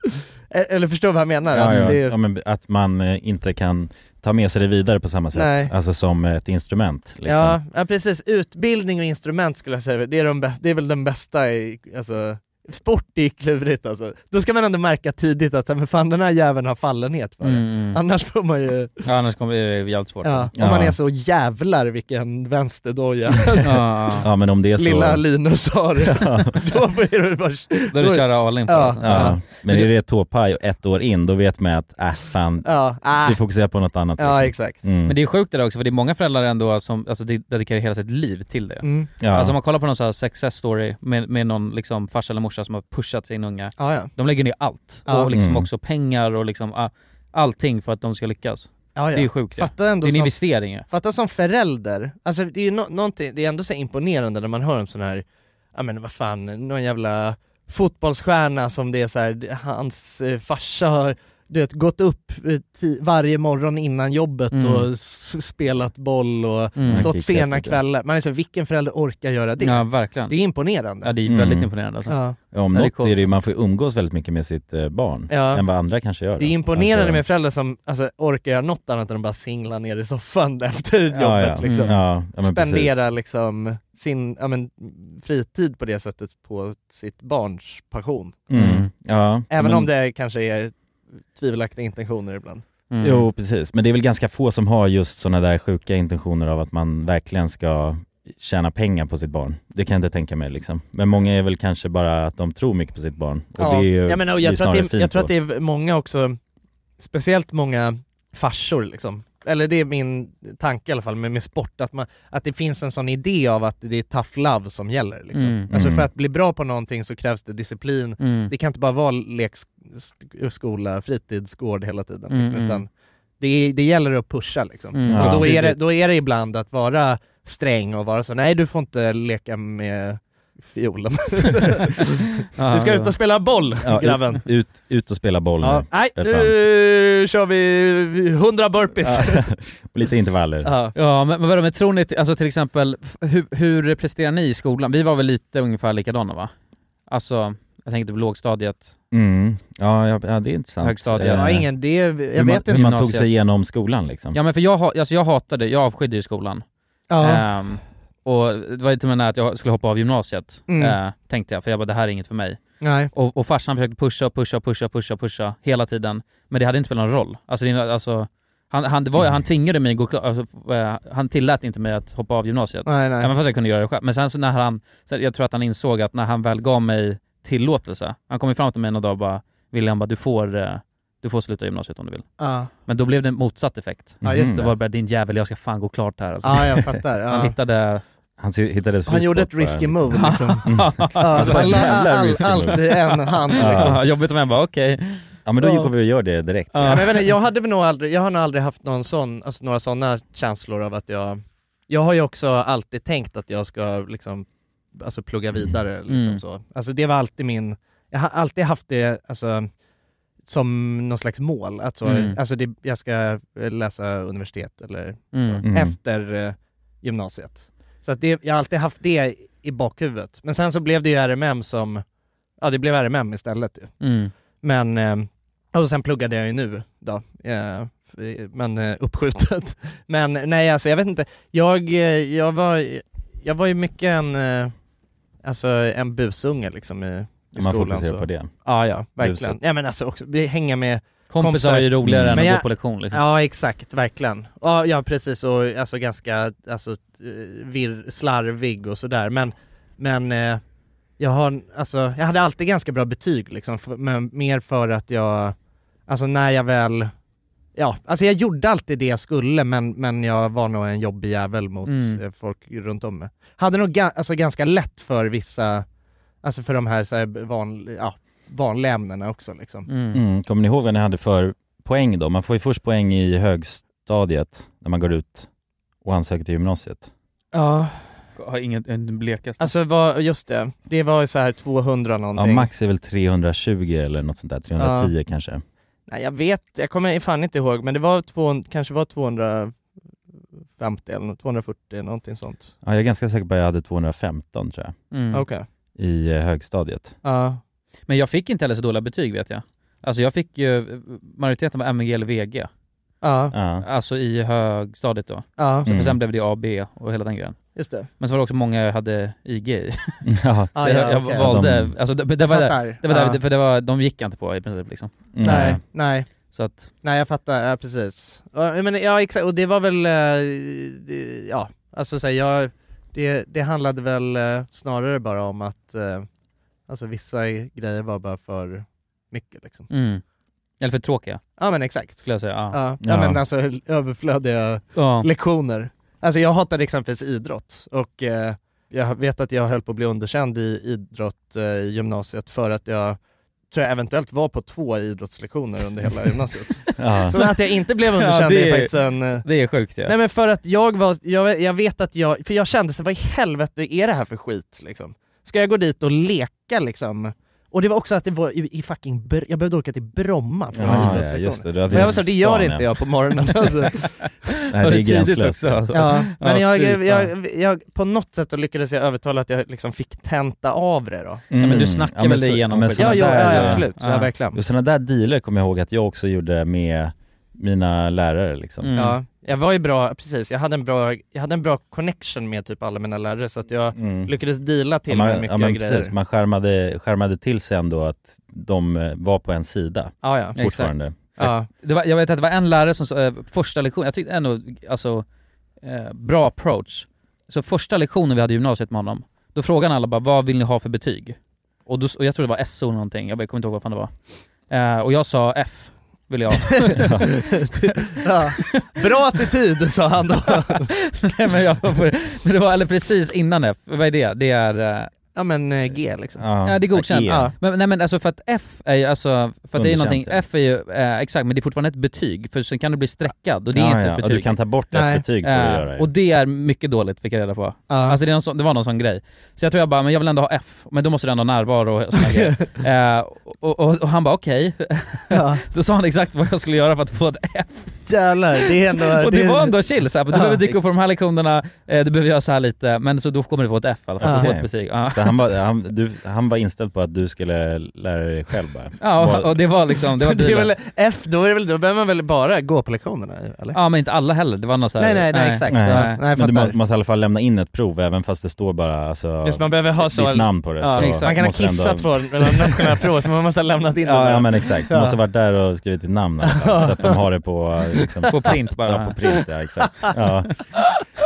A: eller förstår du vad jag menar?
B: Ja,
A: Att
B: ja.
A: alltså, Det är,
B: ja, men att man eh, inte kan ta med sig det vidare på samma sätt,
A: Nej.
B: alltså som ett instrument liksom.
A: ja, ja, precis. Utbildning och instrument skulle jag säga, det är, de bä- det är väl den bästa i, alltså, sport det är klurigt alltså. Då ska man ändå märka tidigt att, men fan den här jäveln har fallenhet för det.
F: Mm.
A: Annars får man ju,
F: Ja, annars kommer det bli jävligt svårt.
A: ja, om man är så jävlar vilken vänsterdoja
F: Ja.
B: Ja men om det är så...
A: lilla Linus har. då blir det bara...
F: Då är det köra all in på
A: Ja.
F: det.
B: Ja. Men är det tåpaj och ett år in, då vet man att äh, fan,
A: Ja, ah.
B: du fokuserar på något annat.
A: Ja, exakt.
B: Mm.
F: Men det är sjukt det där också, för det är många föräldrar ändå som alltså, de- dedikerar hela sitt liv till det.
A: Mm.
B: Ja.
F: Alltså om man kollar på någon så här success story med, med någon liksom farsa eller morsa som har pushat sin unga.
A: Ja, ja.
F: De lägger ner allt.
A: Ja.
F: Och liksom
A: Mm.
F: också pengar och liksom ah, allting för att de ska lyckas.
A: Ja, ja.
F: Det är ju sjukt ju.
A: Fatta ändå
F: Det är en
A: som-
F: investering ju.
A: Fatta som förälder, alltså det är ju nå- någonting, det är ändå så här imponerande när man hör om sån här, ja men vad fan, någon jävla fotbollsstjärna som det är så här, det- hans eh, farsa har du vet, gått upp eh, ti- varje morgon innan jobbet
F: Mm.
A: och s- spelat boll och
F: Mm. Han
A: stått
F: kickat
A: sena
F: lite.
A: kvällar. Man är så här, vilken förälder orkar göra det?
F: Ja, verkligen.
A: Det är imponerande.
F: Ja, det är
B: Mm.
F: väldigt imponerande alltså.
A: Ja.
B: Ja, Om
A: Ja, det är
B: något
A: coolt.
B: är det ju, man får ju umgås väldigt mycket med sitt eh, barn,
A: Ja.
B: än vad andra kanske gör.
A: Det är
B: då.
A: imponerande
B: Alltså-
A: med föräldrar som alltså, orkar göra något annat än att bara singla ner i soffan efter jobbet
B: Ja, ja.
A: Liksom.
B: Mm. Ja, ja, men
A: Spendera
B: precis.
A: liksom sin ja, men, fritid på det sättet på sitt barns passion.
B: Mm. Ja,
A: Även
B: men-
A: om det kanske är tvivelaktiga intentioner ibland.
F: Mm.
B: Jo, precis. Men det är väl ganska få som har just sådana där sjuka intentioner av att man verkligen ska tjäna pengar på sitt barn. Det kan jag inte tänka mig liksom. Men många är väl kanske bara att de tror mycket på sitt barn. Och det är ju
A: ja, men, och
B: det är
A: jag, tror
B: snarare
A: att det,
B: fint
A: jag tror
B: då.
A: att det är många också, speciellt många farsor liksom. Eller det är min tanke i alla fall med, med sport, att, man, att det finns en sån idé av att det är tough love som gäller. Liksom.
F: Mm.
A: Alltså
F: Mm.
A: för att bli bra på någonting så krävs det disciplin.
F: Mm.
A: Det kan inte bara vara lek, sk- skola, fritidsgård hela tiden.
F: Mm,
A: Liksom,
F: mm.
A: utan det, är- det gäller att pusha liksom.
F: Mm.
A: Och
F: Ja.
A: då, är det, då är det ibland att vara sträng och vara så, nej du får inte leka med fiolen.
B: Ja,
A: du ska
B: det
A: ut
B: var-
A: och spela boll
B: Ja, ut-
A: grabben.
B: Ut, ut och spela boll
A: Ja.
B: nu.
A: Nej,
B: Ett
A: nu kör vi 100 burpees.
B: Och lite intervaller.
A: Ja.
F: Ja, men, men vadå, men tror ni, till- alltså till exempel, f- hur, hur presterar ni i skolan? Vi var väl lite ungefär likadana va? Alltså, jag tänker på lågstadiet.
B: Mm. Ja, ja, ja, det är intressant.
F: Högstadiet.
B: Eh,
F: Jag har
A: ingen- det- jag
B: hur man,
F: vet inte.
B: Hur man tog
F: Gymnasiet.
B: sig igenom skolan liksom.
F: Ja men för jag, ha- alltså, jag hatade, jag avskydde ju skolan.
A: Ja.
F: Ehm, och det var ju till och med nära att jag skulle hoppa av gymnasiet,
A: Mm.
F: eh, tänkte jag, för jag bara det här är inget för mig.
A: Nej.
F: Och, och farsan försökte pusha och pusha och pusha och pusha, pusha hela tiden, men det hade inte spelat någon roll. Alltså, det, alltså han, han, det var, ju- han tvingade mig att gå klar- alltså, f- eh, han tillät inte mig att hoppa av gymnasiet.
A: Nej, nej.
F: Även fast jag kunde göra det själv. Men sen så när han, så jag tror att han insåg att när han väl gav mig tillåtelse, han kom ju fram till mig någon dag och bara William bara, du får, eh, du får sluta gymnasiet om du vill.
A: Ja.
F: Men då blev det en motsatt effekt.
A: Ja, just
F: det.
A: det.
F: var bara din jävel, jag ska fan gå klart här alltså.
A: Ja, jag fattar, ja.
F: Han hittade...
B: Han hittade
A: Han gjorde ett risky move liksom. Ja,
F: Alltså,
A: alla-
F: jävla
A: all-
F: risky
A: allt
F: move.
A: i en hand,
F: Ja.
A: liksom.
F: Jobbigt om jag bara okej.
B: Ja men då går vi och gör det direkt.
A: Ja, men jag, vet inte, jag, hade väl nog aldrig, jag har nog aldrig haft någon sån, alltså några sådana känslor av att jag... Jag har ju också alltid tänkt att jag ska liksom, alltså plugga vidare. Liksom
F: Mm.
A: så. Alltså det var alltid min... Jag har alltid haft det alltså, som någon slags mål. Att så,
F: Mm.
A: Alltså det, jag ska eh, läsa universitet eller
F: Mm.
A: så,
F: Mm.
A: efter eh, gymnasiet. Så att det, jag har alltid haft det i bakhuvudet. Men sen så blev det ju RMM som... Ja, det blev RMM istället. ju.
F: Mm.
A: Men, eh, och sen pluggade jag ju nu då, eh, f- men eh, uppskjutet. Men nej alltså jag vet inte, jag, eh, jag, var, jag var ju mycket en, eh, alltså en busunge liksom i, i
B: Man
A: skolan.
B: fokuserar
A: så.
B: på det.
A: Ja, ja, verkligen.
B: Buset.
A: Ja men alltså också, vi hänga med
F: Kompisar är ju roligare än
A: Mm. Men
F: att
A: jag-
F: gå på lektion liksom.
A: Ja exakt, verkligen. Ja, ja precis och alltså ganska alltså, eh, virr, slarvig och sådär men, men eh, jag, har, alltså, jag hade alltid ganska bra betyg liksom, f- men mer för att jag, alltså när jag väl, ja alltså jag gjorde alltid det jag skulle men, men jag var nog en jobbig jävel mot
F: Mm.
A: eh, folk runt om mig. Hade nog ga, alltså, ganska lätt för vissa, alltså för de här, så här van, ja, vanliga ämnena också liksom.
B: Mm. Kommer ni ihåg vad ni hade för poäng då? Man får ju först poäng i högstadiet när man går ut och ansöker till gymnasiet.
A: Ja.
F: Har ingen, den blekaste.
A: Alltså vad, just det, det var ju så här 200 någonting.
B: Ja, max är väl 320 eller något sånt där, 310 kanske.
A: Nej jag vet, jag kommer fan inte ihåg men det var två, kanske var 250 eller nå- 240 någonting sånt.
B: Ja, jag är ganska säker på att jag hade 215 tror jag,
F: Mm.
A: Okej.
B: i eh, högstadiet.
A: Ja.
F: Men jag fick inte heller så dåliga betyg vet jag. Alltså jag fick ju, majoriteten var MVG eller VG.
A: Ja.
F: Alltså i högstadiet då.
A: Ja.
F: Så för
A: Mm.
F: sen blev det AB och hela den grejen.
A: Just det.
F: Men så var det också många jag hade IG i.
B: Ja.
F: Så
A: Ah, ja,
F: jag, jag
A: okej.
F: valde,
A: Ja, de-
F: alltså det, det var
A: Fattar.
F: där, det var där,
A: Ja.
F: för det var, de gick jag inte på i princip liksom.
A: Nej, nej.
F: Så att,
A: Nej jag fattar, ja precis. Ja, Men, ja exakt, och det var väl, eh, det- ja alltså så här, jag, det, det handlade väl eh, snarare bara om att eh, alltså vissa grejer var bara för mycket liksom.
F: mm. Eller för tråkiga.
A: Ja men exakt.
F: Skulle jag säga, ja.
A: Ja, ja men alltså överflödiga
F: Ja.
A: lektioner. Alltså jag hatade exempelvis idrott och eh, jag vet att jag höll på att bli underkänd i idrott eh, i gymnasiet för att jag tror jag eventuellt var på två idrottslektioner under hela gymnasiet.
B: Ja.
A: Så Mm. att jag inte blev underkänd
F: Ja,
A: det är,
F: ju-
A: faktiskt en... eh,
F: Det är sjukt ja.
A: Nej men för att jag var, jag, jag vet att jag, för jag kände så här, vad i helvete är det här för skit liksom? Ska jag gå dit och leka liksom? Och det var också att det var i, i fucking, Br- jag behövde åka till Bromma för att ha
B: Ja,
A: idrottslektioner.
B: ja, just det. Du hade
A: men jag
B: ju
A: var så, det gör
B: stan,
A: inte
B: ja.
A: jag på morgonen alltså.
B: Nej, det är gränslöst.
A: Ja, men
F: Ja,
A: jag,
F: fy
A: jag,
F: fan.
A: jag, på något sätt då lyckades jag övertala att jag liksom fick tenta av det då.
F: Ja, men du snackar väl
B: så-
F: igenom
B: Mm. men
F: skiten?
B: såna
A: Ja, ja,
B: där- eh,
A: ja, absolut. Så ja, verkligen.
B: Och sådana där dealer kommer jag ihåg att jag också gjorde med mina lärare liksom.
F: Mm.
A: Ja, jag var ju bra, precis, jag hade en bra, jag hade en bra connection med typ alla mina lärare så att jag
B: Mm.
A: lyckades deala till
B: Ja, man,
A: med mycket
B: ja, men
A: grejer.
B: Precis. Man skärmade, skärmade till sig ändå att de eh, var på en sida
A: Ja, ja. Exakt.
B: fortfarande.
A: Ja.
F: Det var, jag vet att det var en lärare som, sa, eh, första lektionen, jag tyckte ändå, alltså, eh, bra approach. Så första lektionen vi hade i gymnasiet med honom, då frågade han alla bara vad vill ni ha för betyg? Och, då, s- och jag tror det var SO någonting, jag bara- jag kommer inte ihåg vad fan det var. Eh, och jag sa F, ville jag.
A: Ja. Bra attityd sa han då.
F: Nej, men, jag var på, men det var eller precis innan F, vad är det? Det är... eh,
A: Ja men eh, G liksom.
F: Ja, det är
B: E.
F: godkänt.
A: G.
F: Ja. Men, nej men alltså för att F är ju, alltså, för att det är
B: Underkänt,
F: någonting,
B: ja.
F: F är ju, eh, exakt men det är fortfarande ett betyg för sen kan det bli streckad och det är
B: Ja,
F: inte
B: ja,
F: ett
B: och
F: betyg.
B: du kan ta bort ett
F: Nej.
B: betyg för att
F: Eh,
B: göra det.
F: Och det är mycket dåligt fick jag reda på. Alltså det, är någon sån, det var någon sån grej. Så jag tror jag bara, men jag vill ändå ha F, men då måste du ändå ha närvaro och såna grejer. Eh, och, och, och han bara okej.
A: Ja.
F: då sa han exakt vad jag skulle göra för att få ett F.
A: Jävlar, det är ändå...
F: och det, var ändå chill så här, du
A: Ja.
F: behöver dyka upp på de här lektionerna, eh, du behöver göra så här lite, men så då kommer du få ett F i alla fall, du får
B: Okej.
F: ett betyg. Ja.
B: Så han var, han, du, han var inställd på att du skulle lära dig själv bara.
F: Ja,
B: Vad-
F: och, och det var liksom, det var
A: det är
F: dealen.
A: väl F, då, är det väl, då behöver man väl bara gå på lektionerna eller?
F: Ja men inte alla heller, det var någon så här,
A: Nej, nej, nej, exakt.
B: Nej.
A: Ja, nej, jag
B: men du
A: fattar.
B: måste, måste i alla fall lämna in ett prov även fast det står bara alltså,
A: Just, man behöver ha
B: ditt
A: så...
B: namn på det.
A: Ja,
B: så
A: exakt. Man kan ha
B: måste du
A: kissat
B: ändå-
A: på det nationella provet men man måste ha lämnat in det
B: Ja,
A: där.
B: ja men exakt, du
A: Ja.
B: måste ha varit där och skrivit ditt namn i alla fall, så att de har det på, liksom,
F: På print bara.
B: Ja, på print, ja exakt. Ja,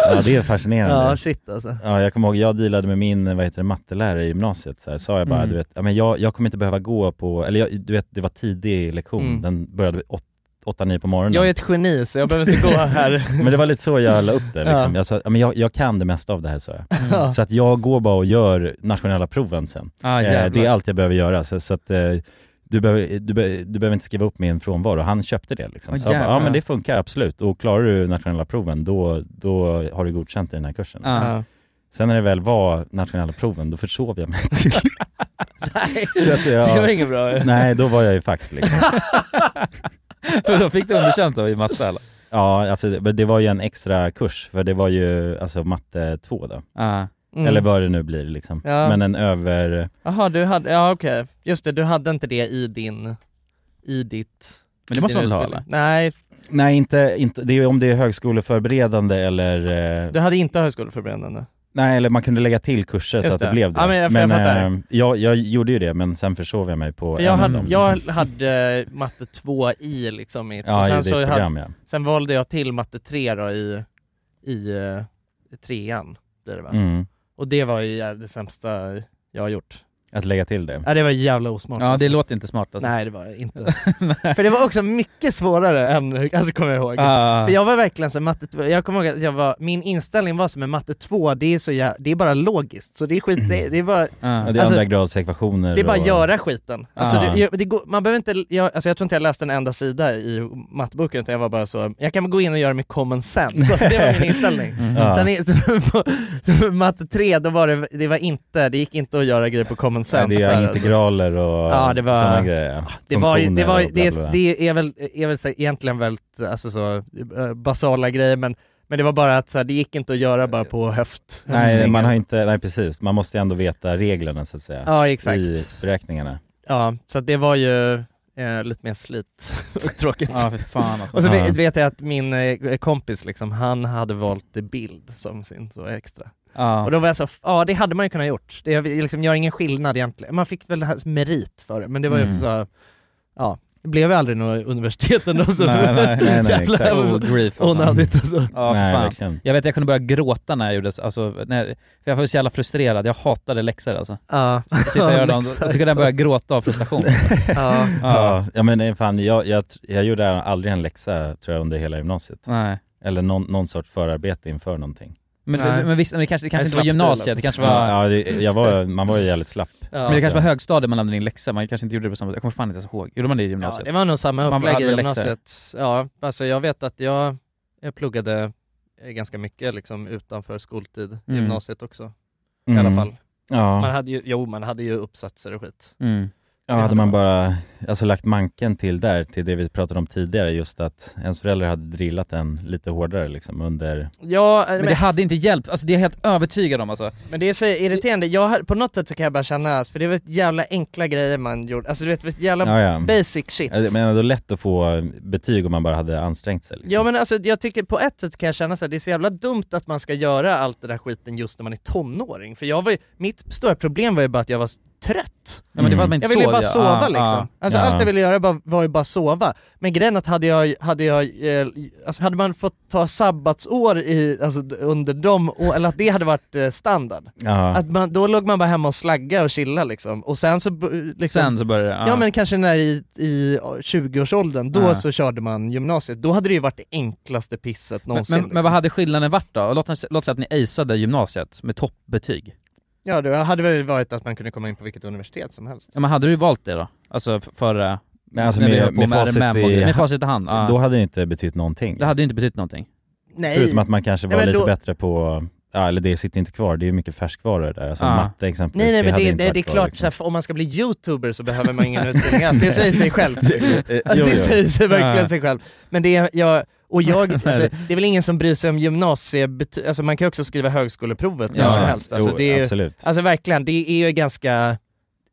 B: ja det är fascinerande.
A: Ja, shit alltså.
B: Ja, jag kommer ihåg, jag dealade med min vad heter det, mattelärare i gymnasiet, så här, sa jag bara,
F: Mm.
B: du vet, ja, men jag, jag kommer inte behöva gå på, eller jag, du vet, det var tidig lektion,
A: Mm.
B: den började vid åt- åtta nio på morgonen.
A: Jag är ett geni så jag behöver inte gå här.
B: Men det var lite så jag la upp det liksom.
A: Ja.
B: Jag sa, ja, men jag, jag kan det mesta av det här sa jag.
A: Ja.
B: Så att jag går bara och gör nationella proven sen.
F: Ah,
B: eh, det är
F: jävlar.
B: allt jag behöver göra. Så, så att, eh, du, behöver, du, be, du behöver inte skriva upp min frånvaro. Han köpte det
A: Ah,
B: liksom.
F: Åh,
B: så jag bara, ja
F: jävlar.
B: men det funkar absolut. Och klarar du nationella proven då, då har du godkänt i den här kursen.
F: Ja.
A: Ja.
B: Sen när det väl var nationella proven, då försov jag mig. så att,
A: Det var
B: jag,
A: inget bra
B: nej, då var jag ju fucked liksom.
F: För då fick du underkänt då i matte eller?
B: Ja, alltså det, men det var ju en extra kurs, för det var ju alltså matte 2 då.
F: Ja.
A: Mm.
B: Eller vad det nu blir liksom.
A: Ja.
B: Men en över...
A: Jaha, du hade, ja okej. Just det, du hade inte det i din, i ditt...
F: Men det måste
A: din
F: man väl ha
A: utbildning.
F: eller?
A: Nej,
B: Nej inte, inte det är om det är högskoleförberedande eller... eh,
A: du hade inte högskoleförberedande?
B: Nej eller man kunde lägga till kurser
A: Just
B: så att det,
A: det.
B: blev det.
A: Ja, men jag- för jag fattar.
B: eh, jag, jag gjorde ju det men sen försov jag mig på
A: För
B: en
A: jag
B: av
A: hade,
B: dem.
A: jag
B: liksom.
A: hade eh, matte 2 i liksom mitt,
B: Ja,
A: och
B: i
A: sen,
B: ditt
A: så
B: program
A: hade,
B: ja.
A: sen valde jag till matte 3 då i, i, eh, i trean, blir det va?
B: Mm.
A: Och det var ju jävla- det sämsta jag har gjort.
B: Att lägga till det.
A: Ja det var jävla osmart.
F: Ja
A: alltså.
F: det låter inte smart alltså.
A: Nej det var det inte. För det var också mycket svårare än, alltså kommer jag ihåg.
F: Ah.
A: För jag var verkligen så här, matte, två- jag kommer ihåg att jag var, min inställning var som en matte 2, det är så jä, det är bara logiskt, så det är skit, det, det är bara,
F: Ah.
B: Ja, det är
A: Alltså,
B: andra gradsekvationer
A: det är bara
B: och...
A: göra skiten. Alltså
F: Ah.
A: det, jag- det går, man behöver inte, jag, alltså jag tror inte jag läste en enda sida i matteboken utan jag var bara så, jag kan väl gå in och göra med common sense, alltså det var min inställning.
F: Mm.
B: Ja.
A: Sen är, så, på, så på matte 3, då var det, det var inte, det gick inte att göra grejer på common sense.
B: Nej, det
A: där,
B: är
A: alltså.
B: integraler och
A: Ja, det var- Ah,
B: sådana grejer.
A: Det var ju, det,
B: Funktioner
A: var, ju-
B: och bla,
A: det,
B: bla, bla.
A: är, det är väl, är väl så, här egentligen väldigt alltså så, eh, basala grejer men, men det var bara att så här, det gick inte att göra bara på höft.
B: Nej, man har inte, nej precis, man måste ju ändå veta reglerna så att säga.
A: Ja exakt.
B: I beräkningarna.
A: Ja, så att det var ju, Eh, lite mer slit och tråkigt.
F: Ja, för fan alltså.
A: Och så
F: Ja.
A: vet, vet jag att min eh, kompis liksom, han hade valt bild som sin så extra.
F: Ja.
A: Och då var jag så, f- ja det hade man ju kunnat gjort. Det jag vill- liksom, gör ingen skillnad egentligen. Man fick väl det här merit för det, men det var ju
F: Mm.
A: också, så, ja, det blev ju aldrig något universitet ändå. Så det var jävla
F: Oh, grief alltså.
A: onödigt. och så.
F: Ja, fan. Jag vet, jag kunde börja gråta när jag gjorde så, alltså, när, för jag var så jävla frustrerad, jag hatade läxor alltså.
A: Ja.
F: Jag sitter och gör dem, och så kunde jag börja
B: Exakt.
F: gråta av frustration.
A: ja.
B: Ja. ja, men nej, fan, jag, jag, tr- jag gjorde aldrig en läxa tror jag under hela gymnasiet.
F: Nej.
B: Eller någon, någon sorts förarbete inför någonting.
F: Men- Nej. men visst, men det kanske- det kanske
B: Jag är
F: inte var
B: slappstil,
F: gymnasiet, det kanske var-
B: Ja, det, jag var, man var ju jävligt slapp.
F: Men det kanske var högstadiet man lämnade in läxor, man kanske inte gjorde det på samma sätt. Jag kommer fan inte ens ihåg. Gjorde man det i
A: ja,
F: gymnasiet?
A: det var nog samma
F: Man
A: upplägg i
F: hade läxor.
A: gymnasiet. Ja, alltså jag vet att jag, jag pluggade eh, ganska mycket liksom utanför skoltid i
F: Mm.
A: gymnasiet också. I
B: Mm.
A: alla fall.
B: Ja.
A: Man hade ju, jo, man hade ju uppsatser och skit.
F: Mm.
B: Ja, hade man bara alltså, lagt manken till där, till det vi pratade om tidigare, just att ens föräldrar hade drillat en lite hårdare liksom under...
A: Ja, eh,
F: men, det hade inte hjälpt, alltså det är jag helt övertygad om alltså.
A: Men det är så irriterande, jag, har- på något sätt så kan jag bara känna, för det var ett jävla enkla grejer man gjorde, alltså du vet, det var ett jävla
B: Ja, ja.
A: basic shit.
B: Ja, Men ändå lätt att få betyg om man bara hade ansträngt sig. Liksom.
A: Ja men alltså jag tycker på ett sätt kan jag känna så här, det är så jävla dumt att man ska göra allt det där skiten just när man är tonåring. För jag var ju, mitt stora problem var ju bara att jag var trött.
F: Ja, men det var att man inte
A: jag ville ju
F: sov,
A: bara
F: ja.
A: sova
F: Ah,
A: liksom.
F: ah.
A: alltså
F: Ja.
A: allt jag ville göra bara, var ju bara sova. Men grejen är att hade jag, hade jag, eh, alltså hade man fått ta sabbatsår i, alltså d- under dem, och, eller att det hade varit eh, standard.
B: Ja.
A: Att man, då låg man bara hemma och slagga och chilla liksom. Och sen så... b- Liksom,
F: Sen så började det,
A: Ja,
F: ja.
A: men kanske när i, i 20-årsåldern, då
F: Ja.
A: så körde man gymnasiet. Då hade det ju varit det enklaste pisset
F: Men,
A: någonsin. liksom.
F: men, men vad hade skillnaden varit då? Låt, oss- låt säga att ni aceade gymnasiet med toppbetyg.
A: Ja, det hade väl varit att man kunde komma in på vilket universitet som helst.
F: Ja, men hade du valt det då? Alltså f- före...
B: Nej, alltså,
F: när vi
B: med,
F: höll på
B: med, facit
F: RMM och
B: i,
F: grejer. med facit i hand? Ja.
B: Då hade det inte betytt någonting.
F: Det hade ju inte betytt någonting.
A: Nej.
B: Förutom att man kanske
A: Nej,
B: var
A: men
B: lite
A: då-
B: bättre på, ja, eller det sitter inte kvar, det är ju mycket färskvaror där. Alltså
A: Ja.
B: matte exempelvis,
A: Nej, nej, men
B: hade
A: det,
B: inte
A: det,
B: varit
A: det är
B: kvar,
A: klart,
B: liksom.
A: så här, för om man ska bli youtuber så behöver man ingen utbildning alls. Det säger sig självt.
B: Eh,
A: Alltså,
B: jo,
A: det
B: jo.
A: säger sig verkligen
B: Ja.
A: sig självt. Men det är, jag, och jag,
B: Nej,
A: alltså,
B: det-
A: det är väl ingen som bryr sig om gymnasiebetyg, alltså man kan ju också skriva högskoleprovet när
B: Ja,
A: som helst. Alltså,
B: jo,
A: det är, ju-
B: absolut.
A: Alltså verkligen, det är ju ganska,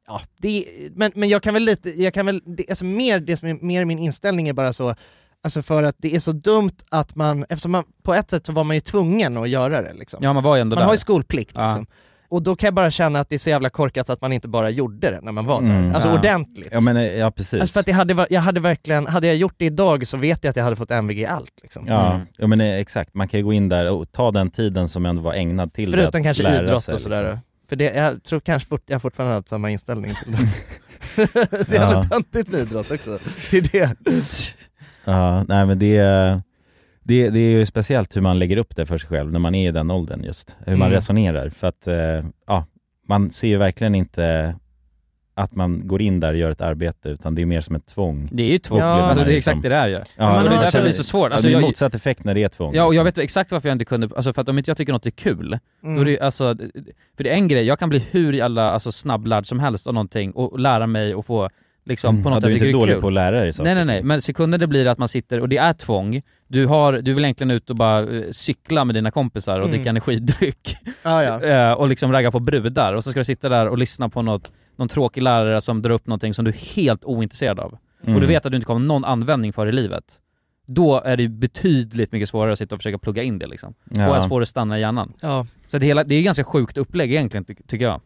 A: ja, det är, men, men jag kan väl lite, jag kan väl, det, alltså mer, det som är mer min inställning är bara så, alltså för att det är så dumt att man, eftersom man, på ett sätt så var man ju tvungen att göra det liksom.
F: Ja, man var ju ändå
A: Man
F: där.
A: har ju skolplikt
F: Ja.
A: liksom. Och då kan jag bara känna att det är så jävla korkat att man inte bara gjorde det när man var
B: Mm.
A: där. Alltså
B: Ja.
A: ordentligt.
B: Ja, men, eh, ja precis.
A: Alltså för att det hade, va- jag hade verkligen, hade jag gjort det idag så vet jag att jag hade fått MVG i allt liksom.
B: Ja, ja men eh, exakt. Man kan ju gå in där och ta den tiden som ändå var ägnad till det,
A: Förutom
B: att
A: kanske
B: lära
A: idrott
B: sig,
A: och sådär.
B: Liksom.
A: För det, jag tror kanske fort, jag fortfarande hade samma inställning till det. så jävla
B: Ja.
A: töntigt med idrott också. Det är det.
B: Ja, nej men det, det, det är ju speciellt hur man lägger upp det för sig själv när man är i den åldern just. Hur man
A: Mm.
B: resonerar. För att, eh, ja, man ser ju verkligen inte att man går in där och gör ett arbete utan det är mer som ett tvång.
F: Det är ju tvång.
B: Upplever man
F: Alltså, det är
B: liksom.
F: exakt det det är ju.
B: Ja,
F: Man
B: och
F: har-
B: är
F: därför det blir så svårt. Alltså,
B: ja, det är
F: jag-
B: motsatt effekt när det är tvång.
F: Ja, och jag
B: liksom.
F: vet exakt varför jag inte kunde, alltså för att om inte jag tycker något är kul,
A: Mm.
F: då är det, ju- alltså, för det är en grej, jag kan bli hur jävla alltså, snabblärd som helst av någonting och lära mig och få liksom
B: Mm.
F: på något
B: Ja, du är
F: jag
B: inte
F: tycker
B: dålig
F: kul.
B: på att lära dig saker.
F: Nej nej nej, men sekunden det blir att man sitter, och det är tvång, du, har, du vill egentligen ut och bara eh, cykla med dina kompisar och
A: Mm.
F: dricka energidryck
A: Ja, ja.
F: Eh, och liksom ragga på brudar och så ska du sitta där och lyssna på något, någon tråkig lärare som drar upp någonting som du är helt ointresserad av
B: Mm.
F: och du vet att du inte kommer ha någon användning för i livet. Då är det ju betydligt mycket svårare att sitta och försöka plugga in det liksom.
B: Ja.
F: Och ens få det att stanna i hjärnan.
A: Ja.
F: Så det, hela, det är ganska sjukt upplägg egentligen ty- tycker jag.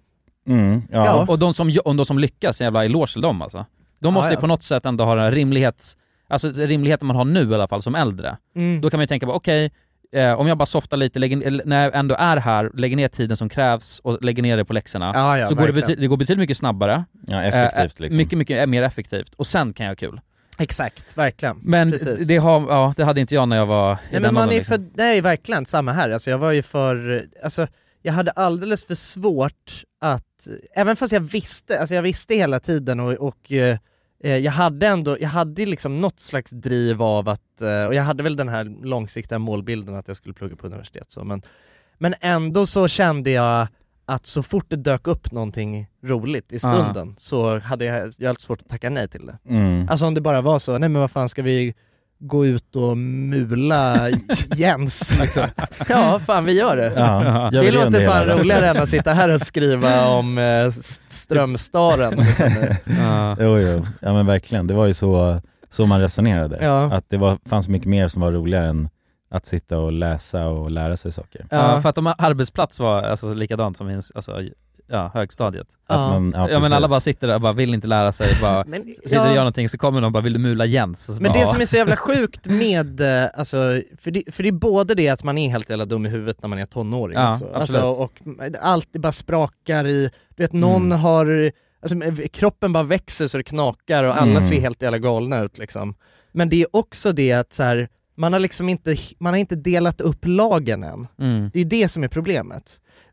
B: Mm, ja.
F: Och de som, gö- och de som lyckas, jävla eloge till dem alltså. De måste
B: Ja,
F: ju
B: ja.
F: på något sätt ändå ha den här rimlighets... Alltså rimligheten man har nu i alla fall som äldre.
A: Mm.
F: Då kan man ju tänka bara okej, eh, om jag bara softar lite, lägger, eller när jag ändå är här, lägger ner tiden som krävs och lägger ner det på läxorna.
B: Ja, ja,
F: så går det,
B: verkligen.
F: bety- det går betydligt mycket snabbare.
B: Ja, effektivt,
F: Eh,
B: liksom.
F: Mycket, mycket mer effektivt. Och sen kan jag ha kul.
A: Exakt, verkligen.
F: Men
A: Precis.
F: det, har, ja, det hade inte jag när jag var i
A: Nej
F: den
A: men man är
F: åldern,
A: ju
F: liksom.
A: för, nej verkligen, samma här. Alltså jag var ju för, alltså jag hade alldeles för svårt att, även fast jag visste, alltså jag visste hela tiden och, och eh, eh, jag hade ändå, jag hade liksom något slags driv av att, eh, och jag hade väl den här långsiktiga målbilden att jag skulle plugga på universitet så, men, men ändå så kände jag att så fort det dök upp någonting roligt i stunden så hade jag, jag hade svårt att tacka nej till det.
B: Mm.
A: Alltså om det bara var så, nej men vad fan ska vi gå ut och mula Jens. Liksom. Ja, fan vi gör det.
B: Ja, jag
A: det
B: vill ju ändå
A: låter fan
B: göra det.
A: roligare än att sitta här och skriva om eh, S- Strömstaren. liksom.
B: Jo, jo. Ja men verkligen, det var ju så, så man resonerade.
A: Ja.
B: Att det var, fanns mycket mer som var roligare än att sitta och läsa och lära sig saker.
F: Ja. för att om arbetsplats var alltså, likadant som i alltså, ja, högstadiet.
B: Att Ja. man- ja,
F: ja, men
B: precis.
F: alla bara sitter där och bara vill inte lära sig, bara
A: Men-
F: sitter och
A: ja.
F: gör någonting så kommer någon och bara vill du mula Jens? Och så
A: Men
F: bara,
A: det
F: "Ja."
A: som är så jävla sjukt med, eh, alltså, för, det, för det är både det att man är helt jävla dum i huvudet när man är tonåring
F: Ja,
A: också.
F: absolut.
A: Alltså, och allt det bara sprakar i, du vet någon
F: Mm.
A: har, alltså, kroppen bara växer så det knakar och alla
F: Mm.
A: ser helt jävla galna ut liksom. Men det är också det att så här, man har liksom inte, man har inte delat upp lagen än.
F: Mm.
A: Det är ju det som är problemet.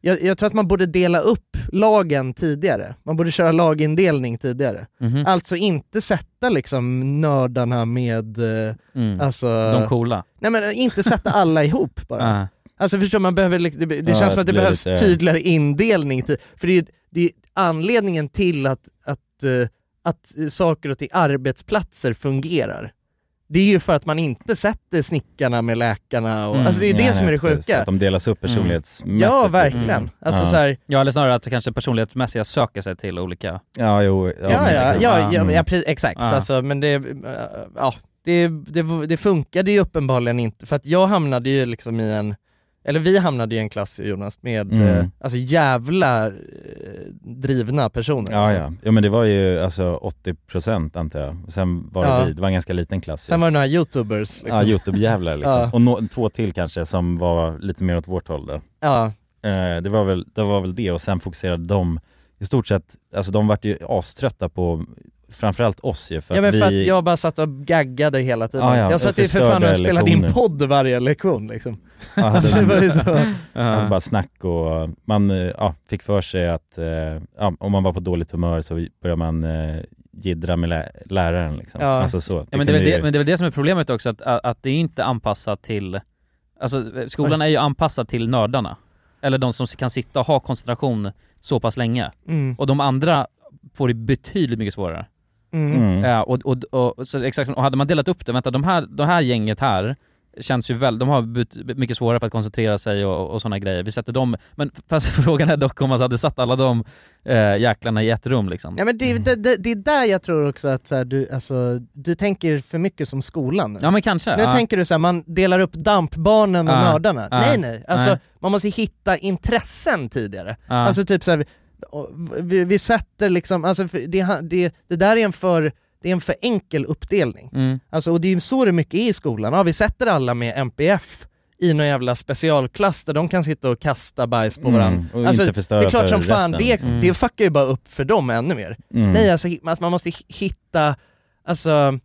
A: Jag, jag tror att man borde dela upp lagen tidigare. Man borde köra lagindelning tidigare.
F: Mhm.
A: Alltså inte sätta liksom nördarna med, eh,
F: Mm.
A: alltså...
F: De coola.
A: Nej men inte sätta alla ihop bara.
F: Ah.
A: Alltså förstår man behöver, lik- det, det
F: Ja,
A: känns som att
F: det
A: det
F: blir
A: behövs
F: lite-
A: tydligare indelning. Till, för det är, ju- det är ju anledningen till att, att, eh, att eh, saker och ting, arbetsplatser fungerar. Det är ju för att man inte sätter snickarna med läkarna
F: Mm.
A: och, alltså det är ju det som är det sjuka. Mm.
B: Att de delas upp personlighetsmässigt. Mm.
A: Ja, verkligen. Alltså,
B: ja.
A: så här-
F: Mm. ja, eller snarare att kanske personlighetsmässiga söker sig till olika...
B: Ja, jo. Ja,
A: Ja,
B: men
A: ja,
B: precis.
A: ja, ja,
B: Mm.
A: ja precis, exakt.
B: Ja.
A: Alltså, men det, eh, ja, det, det, det funkade ju uppenbarligen inte, för att jag hamnade ju liksom i en, eller vi hamnade i en klass Jonas med,
B: Mm.
A: eh, alltså jävla eh, drivna personer.
B: Ja,
A: alltså.
B: ja. ja, men det var ju alltså 80% antar jag. Sen var det
A: Ja.
B: vi, det var en ganska liten klass.
A: Sen var det några youtubers liksom.
B: Ja, Youtube-jävlar liksom.
A: Ja.
B: Och nå- två till kanske som var lite mer åt vårt håll då.
A: Ja.
B: Eh, det, var väl, det var väl det och sen fokuserade de i stort sett, alltså de vart ju aströtta på framförallt oss ju för
A: ja
B: att
A: men
B: vi...
A: för att jag bara satt och gaggade hela tiden.
B: Ja, ja,
A: jag satt
B: och
A: ju för fan och
B: förstörde
A: spelade in
B: lektioner.
A: podd varje lektion liksom.
B: Ja,
A: alltså, det var ju så.
B: hade bara snack och man eh, ja, fick för sig att eh, ja, om man var på dåligt humör så började man eh, jiddra med lä- läraren liksom. Alltså så.
F: Ja, men, det är väl det, men det är väl det som är problemet också, att, att det är inte anpassat till... Alltså skolan är ju anpassad till nördarna. Eller de som kan sitta och ha koncentration så pass länge.
A: Mm.
F: Och de andra får det betydligt mycket svårare.
A: Mm. Mm.
F: Ja, och, och, och, så exakt, som- och hade man delat upp det, vänta de här, de här gänget här känns ju väl, de har bet- mycket svårare för att koncentrera sig och, och sådana grejer. Vi sätter dem, men fast frågan är dock om man hade satt alla de eh, jäklarna i ett rum liksom.
A: Ja, men det, det, det, det är där jag tror också att så här, du, alltså, du tänker för mycket som skolan nu.
F: Ja, men kanske,
A: Nu
F: ja.
A: tänker du så här, man delar upp dampbarnen och
F: Ja,
A: nördarna.
F: ja,
A: nej nej, alltså,
F: nej.
A: man måste hitta intressen tidigare.
F: Ja.
A: Alltså typ så här, vi- vi, vi sätter liksom, alltså, för det, det, det där är en för det är en för enkel uppdelning.
F: Mm.
A: Alltså, och det är ju så det mycket är i skolan. Ja, vi sätter alla med MPF i någon jävla specialklass där de kan sitta och kasta bajs på
B: Mm,
A: varandra.
B: och
A: alltså,
B: inte förstöra
A: det är klart
B: för
A: som fan,
B: resten,
A: det,
B: liksom.
A: det fuckar ju bara upp för dem ännu mer.
B: Mm.
A: Nej, alltså hi- att man måste hi- hitta, alltså man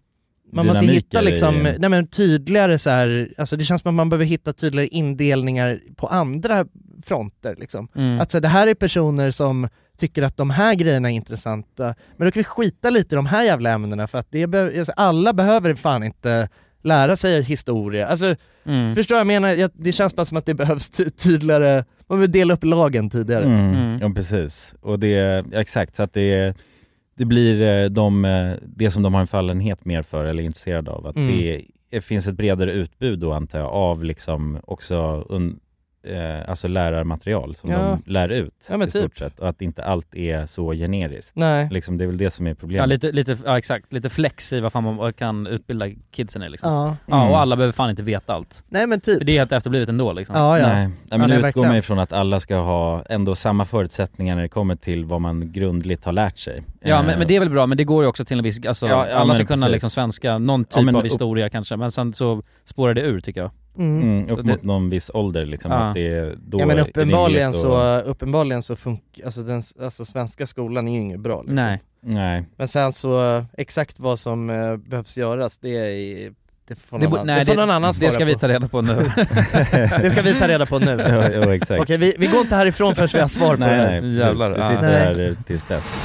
A: måste
B: Dynamiker
A: hitta liksom,
B: i-
A: nej men tydligare så här, alltså det känns som att man behöver hitta tydligare indelningar på andra fronter liksom.
F: Mm.
A: Att så här, det här är personer som tycker att de här grejerna är intressanta, men då kan vi skita lite i de här jävla ämnena för att det be- alltså, alla behöver fan inte lära sig historia. Alltså,
F: Mm.
A: förstår jag vad jag menar? Jag, det känns bara som att det behövs ty- tydligare, man vill dela upp lagen tidigare.
B: Mm. Ja precis, och det, ja, exakt så att det, det blir eh, de, eh, det som de har en fallenhet mer för eller är intresserade av. Att
F: Mm.
B: det, det finns ett bredare utbud då antar jag av liksom också un, eh, alltså lärarmaterial som
A: Ja.
B: de lär ut
A: Ja, men
B: i stort
A: typ.
B: sett och att inte allt är så generiskt.
A: Nej.
B: Liksom, det är väl det som är problemet.
F: Ja, lite, lite, ja exakt, lite flex i vad fan man kan utbilda kidsen i liksom.
A: Ja.
F: ja
B: Mm.
F: och alla behöver fan inte veta allt.
A: Nej men typ.
F: För det är helt efterblivet ändå liksom.
B: Nej, nej, men
F: Ja,
B: nu
F: nej,
B: utgår
F: verkligen.
B: man ifrån att alla ska ha ändå samma förutsättningar när det kommer till vad man grundligt har lärt sig.
F: Ja
B: Eh,
F: men, men det är väl bra, men det går ju också till en viss, alltså
B: Ja, ja,
F: alla
B: men
F: ska kunna
B: precis.
F: liksom svenska, någon
B: Ja,
F: typ
B: men
F: av
B: upp-
F: historia kanske, men sen så spårar det ur tycker jag.
A: Mm.
B: Mm,
F: Så
B: upp
F: det-
B: mot någon viss ålder liksom,
F: Ja.
B: att det är då
A: ja
B: är
A: men
B: det
A: uppenbarligen
B: rimligt
A: så,
B: att-
A: uppenbarligen så funkar, alltså, den, alltså svenska skolan är ju inget bra liksom.
B: Nej. Nej.
A: Men sen så, eh, exakt vad som eh, behövs göras det är det får
F: Det
A: någon,
F: bo-
A: annan,
F: nej,
A: det får
F: det-
A: någon annan
F: det
A: svara
F: ska vi ta reda på nu.
A: Det ska vi ta reda på nu.
B: Ja, ja, exakt.
A: Okej, vi, vi går inte härifrån förrän vi har svar på
B: nej,
A: det här.
B: Nej, precis. Vi sitter här eh, tills dess.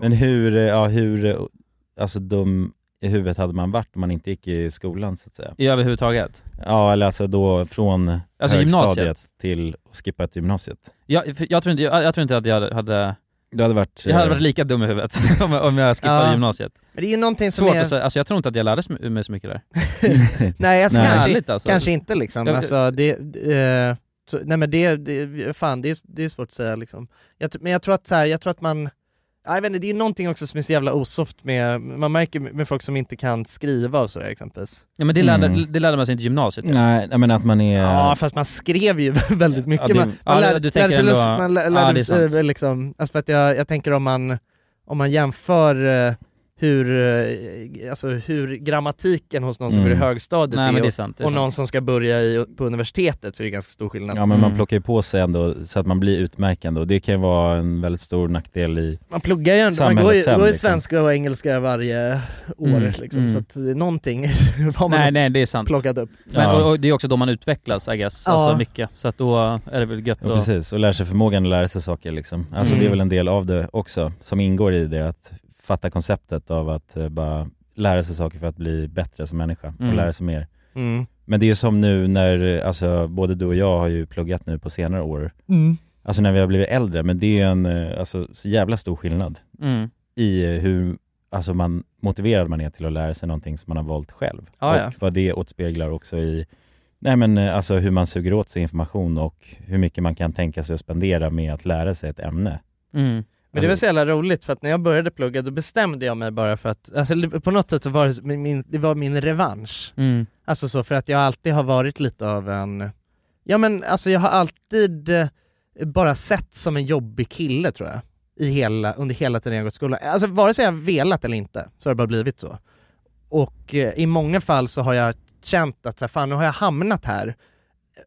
B: Men hur, eh, ja hur, eh, alltså dum i huvudet hade man varit om man inte gick i skolan så att säga?
F: I överhuvudtaget?
B: Ja, eller alltså då från
F: Alltså
B: högstadiet
F: gymnasiet?
B: till att skippa till gymnasiet.
F: Jag, för jag, tror inte, jag, jag tror inte att jag hade...
B: Du hade varit...
F: Jag hade
B: eh,
F: varit lika dum i huvudet om, jag- om jag skippade
A: Ja.
F: gymnasiet.
A: Men det är ju någonting som
F: Svårt
A: är-
F: att säga, alltså jag tror inte att jag lärde sm- mig så mycket där.
B: eh,
A: Nej, alltså, Kanske,
F: Ärligt, alltså.
A: kanske inte liksom.
F: Jag-
A: Alltså, det, eh, så, nej men det, det, fan det är, det är svårt att säga liksom. Jag, tr- men jag tror att så här, jag tror att man, jag vet inte, det är någonting också som är så jävla osoft med, man märker med folk som inte kan skriva och så exempelvis.
F: Ja men det lärde,
B: Mm.
F: det lärde man sig inte i gymnasiet. ja.
B: Nej, nej, men att man är...
A: Ja fast man skrev ju väldigt mycket.
F: det-
A: man,
F: ja,
A: man
F: det-
A: lärde,
F: du tänker
A: lärde sig,
F: ändå-
A: man lär-
F: ja,
A: lärde
F: det är
A: sig
F: sant.
A: liksom, alltså för att jag, jag tänker om man, om man jämför eh, hur, eh, alltså hur grammatiken hos någon som
B: Mm.
A: går i högstadiet
B: Nej, men
A: är,
B: det är
A: och-
B: sant, det är
A: och
B: sant.
A: någon som ska börja i, på universitetet så är det ganska stor skillnad.
B: Ja men man plockar ju på sig ändå så att man blir utmärkande och det kan ju vara en väldigt stor nackdel i
A: Man pluggar ju ändå, man
B: samhället
A: går ju,
B: sen,
A: går ju
B: liksom.
A: svenska och engelska varje år
F: Mm,
A: liksom,
F: mm.
A: så att eh, någonting har man
F: Nej, nej det är sant.
A: plockat upp.
F: Men,
B: Ja.
F: och, och det är också då man utvecklas I guess,
A: Ja.
F: alltså mycket. Så att då är det väl gött
B: Ja,
F: att...
B: precis, och lär sig förmågan att lära sig saker liksom. Alltså
F: Mm.
B: det är väl en del av det också, som ingår i det, att fatta konceptet av att eh, bara lära sig saker för att bli bättre som människa
F: Mm.
B: och lära sig mer.
A: Mm.
B: Men det är ju som nu när, eh, alltså både du och jag har ju pluggat nu på senare år,
A: Mm.
B: alltså när vi har blivit äldre, men det är ju en, eh, alltså så jävla stor skillnad
F: Mm.
B: i eh, hur, alltså man, motiverad man är till att lära sig någonting som man har valt själv.
F: Ja,
B: och
F: ja.
B: vad det återspeglar också i, nej men eh, alltså hur man suger åt sig information och hur mycket man kan tänka sig att spendera med att lära sig ett ämne.
F: Mm.
A: Men det var så jävla roligt för att när jag började plugga då bestämde jag mig bara för att, alltså det- på något sätt så var det min- min, det var min revansch.
F: Mm.
A: Alltså så för att jag alltid har varit lite av en, ja men alltså jag har alltid eh, bara sett som en jobbig kille tror jag. I hela, under hela tiden jag gått i skolan. Alltså vare sig jag velat eller inte så har det bara blivit så. Och eh, i många fall så har jag känt att så här, fan nu har jag hamnat här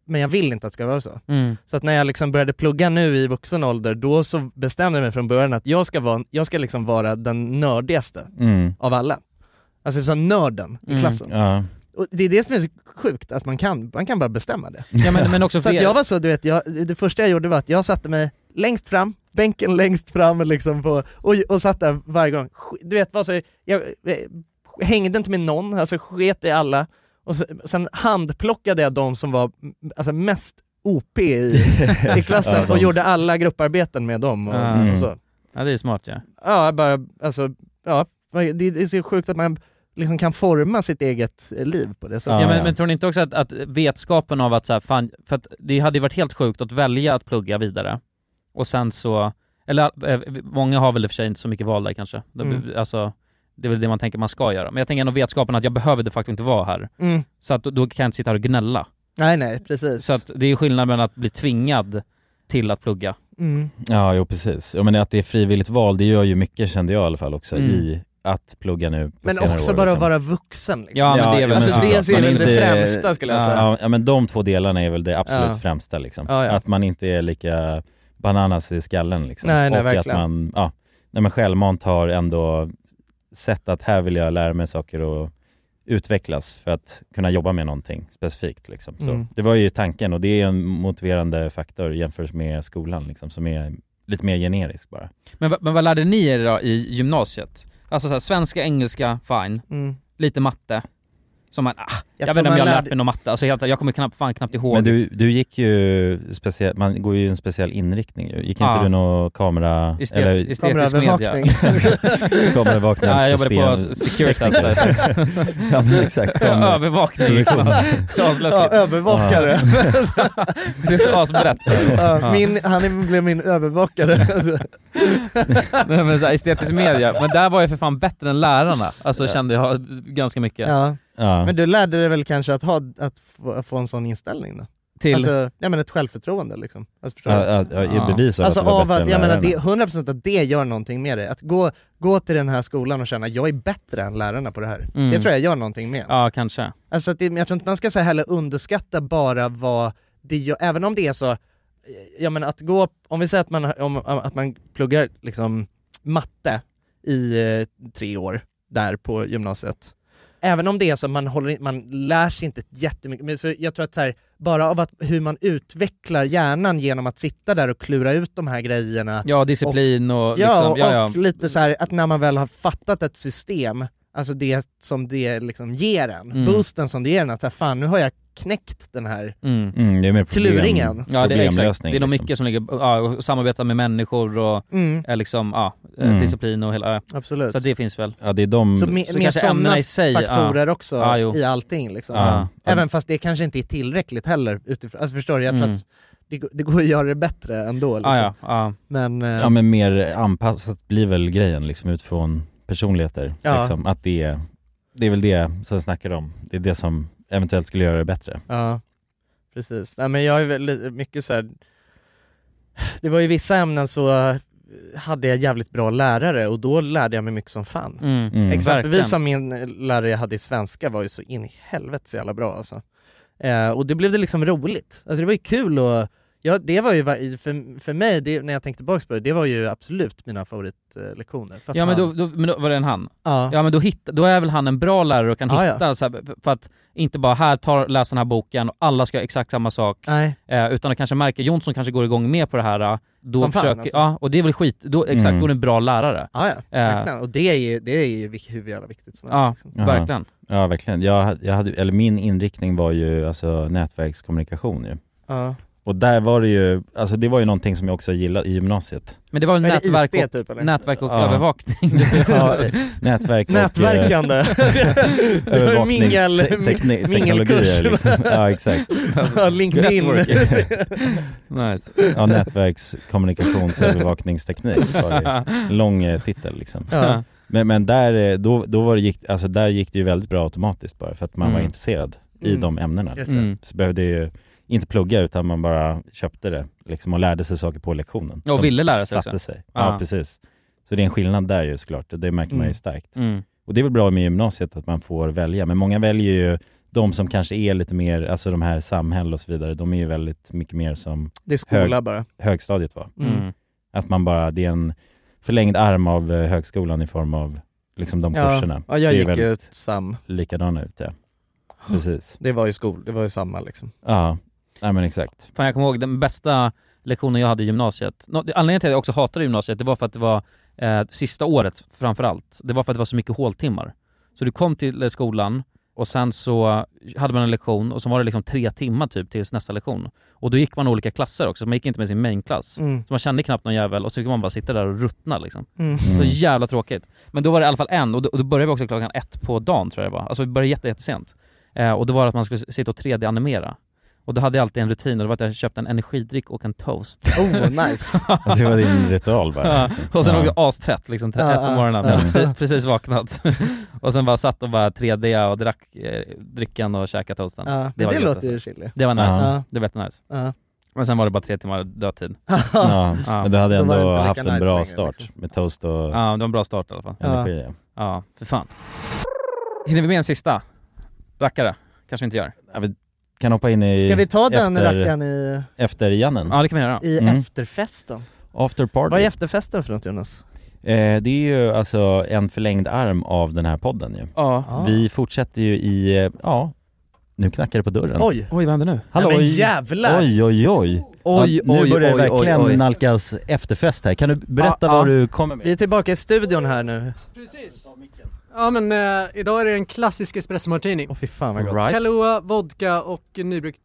A: men jag vill inte att det ska vara så.
F: Mm.
A: Så att när jag liksom började plugga nu i vuxen ålder, då så bestämde jag mig från början att jag ska vara, jag ska liksom vara den nördigaste
B: Mm.
A: av alla. Alltså så nörden i
F: Mm.
A: klassen.
B: Ja.
A: Och det är det som är så sjukt, att man kan, man kan bara bestämma det.
F: Ja, men- men också
A: så att
F: för-
A: jag var så, du vet, jag, det första jag gjorde var att jag satte mig längst fram, bänken längst fram liksom på, och, och satt där varje gång. Sk- Du vet, var så, jag eh, hängde inte med någon, alltså sket i alla. Och så, sen handplockade jag de som var mm, alltså, mest OP i, i klassen
F: Ja, de-
A: och gjorde alla grupparbeten med dem. Och,
F: Ah.
A: och så.
F: Ja det är smart ja.
A: Ja, jag bara, alltså, ja, det, det är så sjukt att man liksom kan forma sitt eget eh, liv på det sättet.
F: Ja, men, men tror ni inte också att, att vetskapen av att så här, fan, för att det hade ju varit helt sjukt att välja att plugga vidare och sen så, eller eh, många har väl i och för sig inte så mycket val där kanske. De,
A: Mm.
F: Alltså, det är väl det man tänker man ska göra. Men jag tänker ändå vetskapen att jag behöver de facto inte vara här.
A: Mm.
F: Så att då, då kan jag inte sitta här och gnälla.
A: Nej nej, precis.
F: Så att det är skillnad mellan att bli tvingad till att plugga.
A: Mm.
B: Ja, jo precis. Jag menar att det är frivilligt val, det gör ju mycket kände jag i alla fall också
F: Mm.
B: i att plugga nu på
A: Men
B: senare
A: också
B: år,
A: bara
B: liksom.
A: vara vuxen liksom. Alltså det är väl det främsta skulle jag
B: Ja,
A: säga.
B: Ja, ja, men de två delarna är väl det absolut
A: Ja.
B: främsta liksom.
A: Ja, ja.
B: Att man inte är lika bananas i skallen liksom.
A: Nej, nej,
B: Och
A: verkligen.
B: att man, ja, när man självmant har ändå sett att här vill jag lära mig saker och utvecklas för att kunna jobba med någonting specifikt liksom. Så
A: Mm.
B: det var ju tanken och det är en motiverande faktor jämfört med skolan liksom, som är lite mer generisk bara.
F: Men, vad- men vad lärde ni er då i gymnasiet? Alltså så här, svenska, engelska, fine.
A: Mm.
F: Lite matte. Som man, ah, jag,
A: Jag
F: vet
A: tror
F: inte om
A: man
F: jag har lärt
A: lärde-
F: mig någon matte, alltså helt, jag kommer knappt, fan knappt ihåg.
B: Men du, du gick ju speciell, man går ju en speciell inriktning ju. Gick
F: Ja.
B: inte du någon kamera...
F: Estet- estetisk Kameraövervakning. media.
B: Kameraövervakning.
F: Ja, jag jobbade på Securitas där.
B: ja men exakt. kamera-
F: Övervakning.
B: produktion.
F: Asläskigt.
A: Ja, övervakare.
B: Ja.
F: Det är asbrett.
A: Ja,
F: Ja.
A: min, han blev min övervakare. Alltså.
F: Nej men så här, estetisk media, men där var jag för fan bättre än lärarna. Alltså
A: Ja.
F: kände jag ganska mycket.
A: Ja.
B: Ja.
A: Men du lärde dig väl kanske att, ha, att få, att få en sån inställning då?
F: Till?
A: Alltså, ja, men ett självförtroende liksom. Alltså, förstår
B: Ja,
A: du?
B: ja, ja, ge Ja. bevis av
A: alltså,
B: att du var
A: av
B: bättre
A: att,
B: än
A: jag menar, det,
B: lärarna.
A: 100% att det gör någonting med dig. Att gå, gå till den här skolan och känna, jag är bättre än lärarna på det här.
F: Mm.
A: Det tror jag gör någonting med
F: Ja, kanske.
A: Alltså att det, men jag tror inte man ska så här heller underskatta bara vad det gör, även om det är så, ja men att gå, om vi säger att man, har- om, att man pluggar liksom matte i eh, tre år där på gymnasiet. Även om det är så, man, håller, in- man lär sig inte jättemycket, men så jag tror att så här, bara av att, hur man utvecklar hjärnan genom att sitta där och klura ut de här grejerna.
F: Ja, disciplin och,
A: ja,
F: liksom,
A: och,
F: ja, ja.
A: och lite så här att när man väl har fattat ett system, alltså det som det liksom ger en,
B: Mm.
A: boosten som det ger en, att så här, fan nu har jag knäckt den här.
F: Mm.
B: Mm, det är mer problem,
A: Kluringen.
F: Ja, det är, exakt. det
B: problemlösning.
F: är nog
B: liksom.
F: mycket som ligger, ja, och samarbeta med människor och
A: Mm.
F: eh, liksom, ja, eh,
B: Mm.
F: disciplin och hela, ja.
A: Absolut.
F: Så det finns väl.
B: Ja, det är de...
A: Så me-
F: så
A: mer
F: kanske
A: sådana
F: ämnena i sig,
A: faktorer
F: ja.
A: också
F: Ja, jo.
A: i allting liksom.
B: Ja.
A: Även fast det kanske inte är tillräckligt heller utifrån, alltså förstår du, jag tror
B: Mm.
A: att det, går- det går att göra det bättre ändå liksom.
B: Ja,
A: Men, eh,
B: Ja men mer anpassat blir väl grejen liksom utifrån personligheter.
A: Ja.
B: Liksom, att det är, det är väl det som jag snackar om. Det är det som eventuellt skulle göra det bättre.
A: Ja, precis. Nej, men jag är väl li- mycket så här. det var ju vissa ämnen så eh, hade jag jävligt bra lärare och då lärde jag mig mycket som fan.
F: Mm. Mm.
A: Exempelvis
F: Verkligen.
A: som min eh, lärare jag hade i svenska var ju så in i helvete så jävla bra alltså. Eh, och det blev det liksom roligt. Alltså det var ju kul och Ja, det var ju, var- för, för mig, det, när jag tänkte tillbaka på det, det var ju absolut mina favoritlektioner. För att
F: Ja men då,
A: han-
F: då, men då var det en han?
A: Ja.
F: men då, hitt, då är väl han en bra lärare och kan
A: Ja, ja.
F: hitta, Så här, för- för att inte bara här, ta, läs den här boken och alla ska göra exakt samma sak.
A: Nej.
F: Eh, utan att kanske märka, Jonsson kanske går igång mer på det här. eh, Då
A: Som fan,
F: försöker,
A: alltså.
F: ja, och det är väl skit, då, exakt,
B: Mm.
F: då är det en bra lärare. Eh,
A: Ja, ja, verkligen. Och det är ju, det är ju vik- hur jävla viktigt som
F: Ja,
A: liksom.
B: Ja. Ja verkligen. Jag, jag hade, eller min inriktning var ju alltså nätverkskommunikation ju.
A: Ja.
B: Och där var det ju, alltså det var ju någonting som jag också gillade i gymnasiet.
F: Men det var väl
A: Eller
F: nätverk,
A: IP
F: och,
A: typ, eller?
F: nätverk och
B: Ja.
F: övervakning?
B: ja, nätverk och... eh,
A: Nätverkande. Mingel-
B: Övervakningsteknologier
A: mingelkurs.
B: liksom. Ja exakt.
A: Ja, LinkedIn.
B: Networking.
F: nice.
B: Ja, nätverkskommunikationsövervakningsteknik var ju en lång eh, titel liksom.
A: Ja.
B: Men, men där, eh, då, då var det gick, alltså där gick det ju väldigt bra automatiskt bara för att man var
A: Mm.
B: intresserad i
A: Mm.
B: de ämnena.
A: Just
B: Liksom.
A: det.
B: Så behövde ju inte plugga utan man bara köpte det liksom, och lärde sig saker på lektionen.
F: Ja, och
B: som
F: ville lära sig
B: satte
F: också.
B: sig.
F: Ja.
B: Ja, precis. Så det är en skillnad där ju såklart, och det märker man
F: Mm.
B: ju starkt.
F: Mm.
B: Och det är väl bra med gymnasiet att man får välja, men många väljer ju de som kanske är lite mer, alltså de här samhäll och så vidare, de är ju väldigt mycket mer som
A: Det är skola bara.
B: högstadiet var.
A: Mm.
B: Att man bara, det är en förlängd arm av eh, högskolan i form av liksom de
A: Ja.
B: kurserna.
A: Ja, jag
B: Ser
A: gick ju
B: väldigt
A: sam.
B: Likadana ut ja. Precis.
A: Det var ju skol, det var ju samma liksom.
B: Ja, nej men exakt.
F: Fan jag kommer ihåg den bästa lektionen jag hade i gymnasiet. Nå- Anledningen till att jag också hatade gymnasiet, det var för att det var eh, sista året framförallt. Det var för att det var så mycket håltimmar. Så du kom till eh, skolan och sen så hade man en lektion och så var det liksom tre timmar typ tills nästa lektion. Och då gick man olika klasser också, man gick inte med sin mainklass.
A: Mm.
F: Så man kände knappt någon jävel och så fick man bara sitta där och ruttna liksom.
A: Mm.
F: Så jävla tråkigt. Men då var det i alla fall en, och då, och då började vi också klockan ett på dagen tror jag det var. Alltså vi började jätte, jättesent. Eh, och då var det att man skulle sitta och 3D-animera. Och då hade jag alltid en rutin och det var att jag köpte en energidryck och en toast.
A: Oh, nice.
B: Ja, det var din ritual bara.
F: Ja, och sen
B: Ja.
F: var jag astrött liksom, tre-
A: Ja,
F: ett på
A: ja,
F: morgonen,
A: ja.
F: precis, precis vaknat. och sen bara satt och bara 3D och drack eh, drycken och käkade toasten.
A: Ja, men
F: var
A: det
F: gött,
A: låter
F: alltså.
A: ju chili.
F: Det var nice,
A: Ja.
F: det var jättenice.
A: Ja.
F: Men sen var det bara tre timmar dödtid.
B: Ja, men du hade
F: Då var det
B: ändå
F: inte lika
B: haft en
F: nice
B: bra
F: längre, liksom.
B: start med toast och
F: Ja, det var en bra start i alla fall.
B: energi. Ja.
F: Ja, för fan. Hinner vi med en sista? Rackare? Kanske vi inte gör.
B: Kan hoppa in i...
F: Ska vi ta den
B: efter-
F: rackaren
A: i-
B: Efter Jannen?
F: Ja, det kan vi göra.
A: I
B: Mm.
A: efterfesten.
B: After party.
A: Vad är efterfesten för något Jonas?
B: Eh, det är ju alltså en förlängd arm av den här podden ju.
F: Ja. Ah.
B: Vi fortsätter ju i, eh, ja, nu knackar det på dörren.
F: Oj. Oj, vad händer nu?
B: Hallå,
F: Nej, men
B: oj.
F: jävlar.
B: Oj, oj, oj.
F: Oj,
B: nu
F: oj,
B: börjar det
F: oj, oj,
B: verkligen
F: oj.
B: nalkas efterfest här. Kan du berätta
A: Ja,
B: vad
A: ja.
B: du kommer med?
A: Vi är tillbaka i studion här nu.
K: Precis. Ja men eh, idag är det en klassisk espresso martini.
A: Åh fy fan vad gott.
K: Kahlua, vodka och nybryggt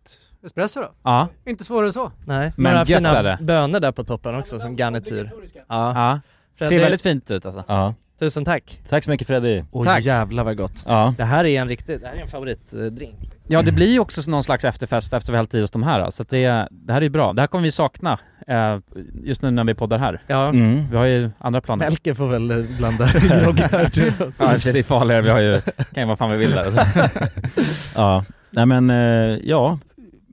K: espresso då.
F: Ja.
K: Inte svårare än så.
A: Nej,
F: Men
A: några
F: gött är
A: fina
F: det.
A: bönor där på toppen också som garnityr. Ja.
F: Ja.
A: Fredrik,
F: Ser väldigt fint ut alltså.
B: Ja.
A: Tusen tack.
B: Tack så mycket Freddy.
A: Åh
F: Tack.
A: jävlar vad gott.
B: Ja.
A: Det här är en riktig, det här är en favoritdrink.
F: Ja, det blir ju också någon slags efterfest efter vi har hällt i oss de här. alltså. Så att det, det här är ju bra. Det här kommer vi sakna eh, just nu när vi poddar här.
A: Ja.
B: Mm.
F: Vi har ju andra planer.
A: Melker får väl eh, blanda groggar.
F: Ja, i och för sig, det är farligare. Vi har ju, kan ju vad fan vi vill där. Alltså.
B: Ja, nej men eh, ja,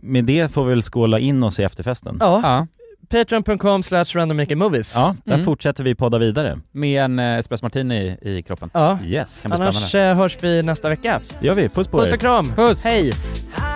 B: med det får vi väl skåla in oss i efterfesten.
A: Ja. Patreon.com slash randommakermovies.
B: Ja, där fortsätter vi podda vidare.
F: Med en eh, espresso martini i, i kroppen.
A: Ja.
B: Yes.
F: Kan bli spännande.
A: Annars eh, hörs vi nästa vecka.
B: gör vi, puss på
A: Puss
B: er.
A: och kram. Hej.
L: oh,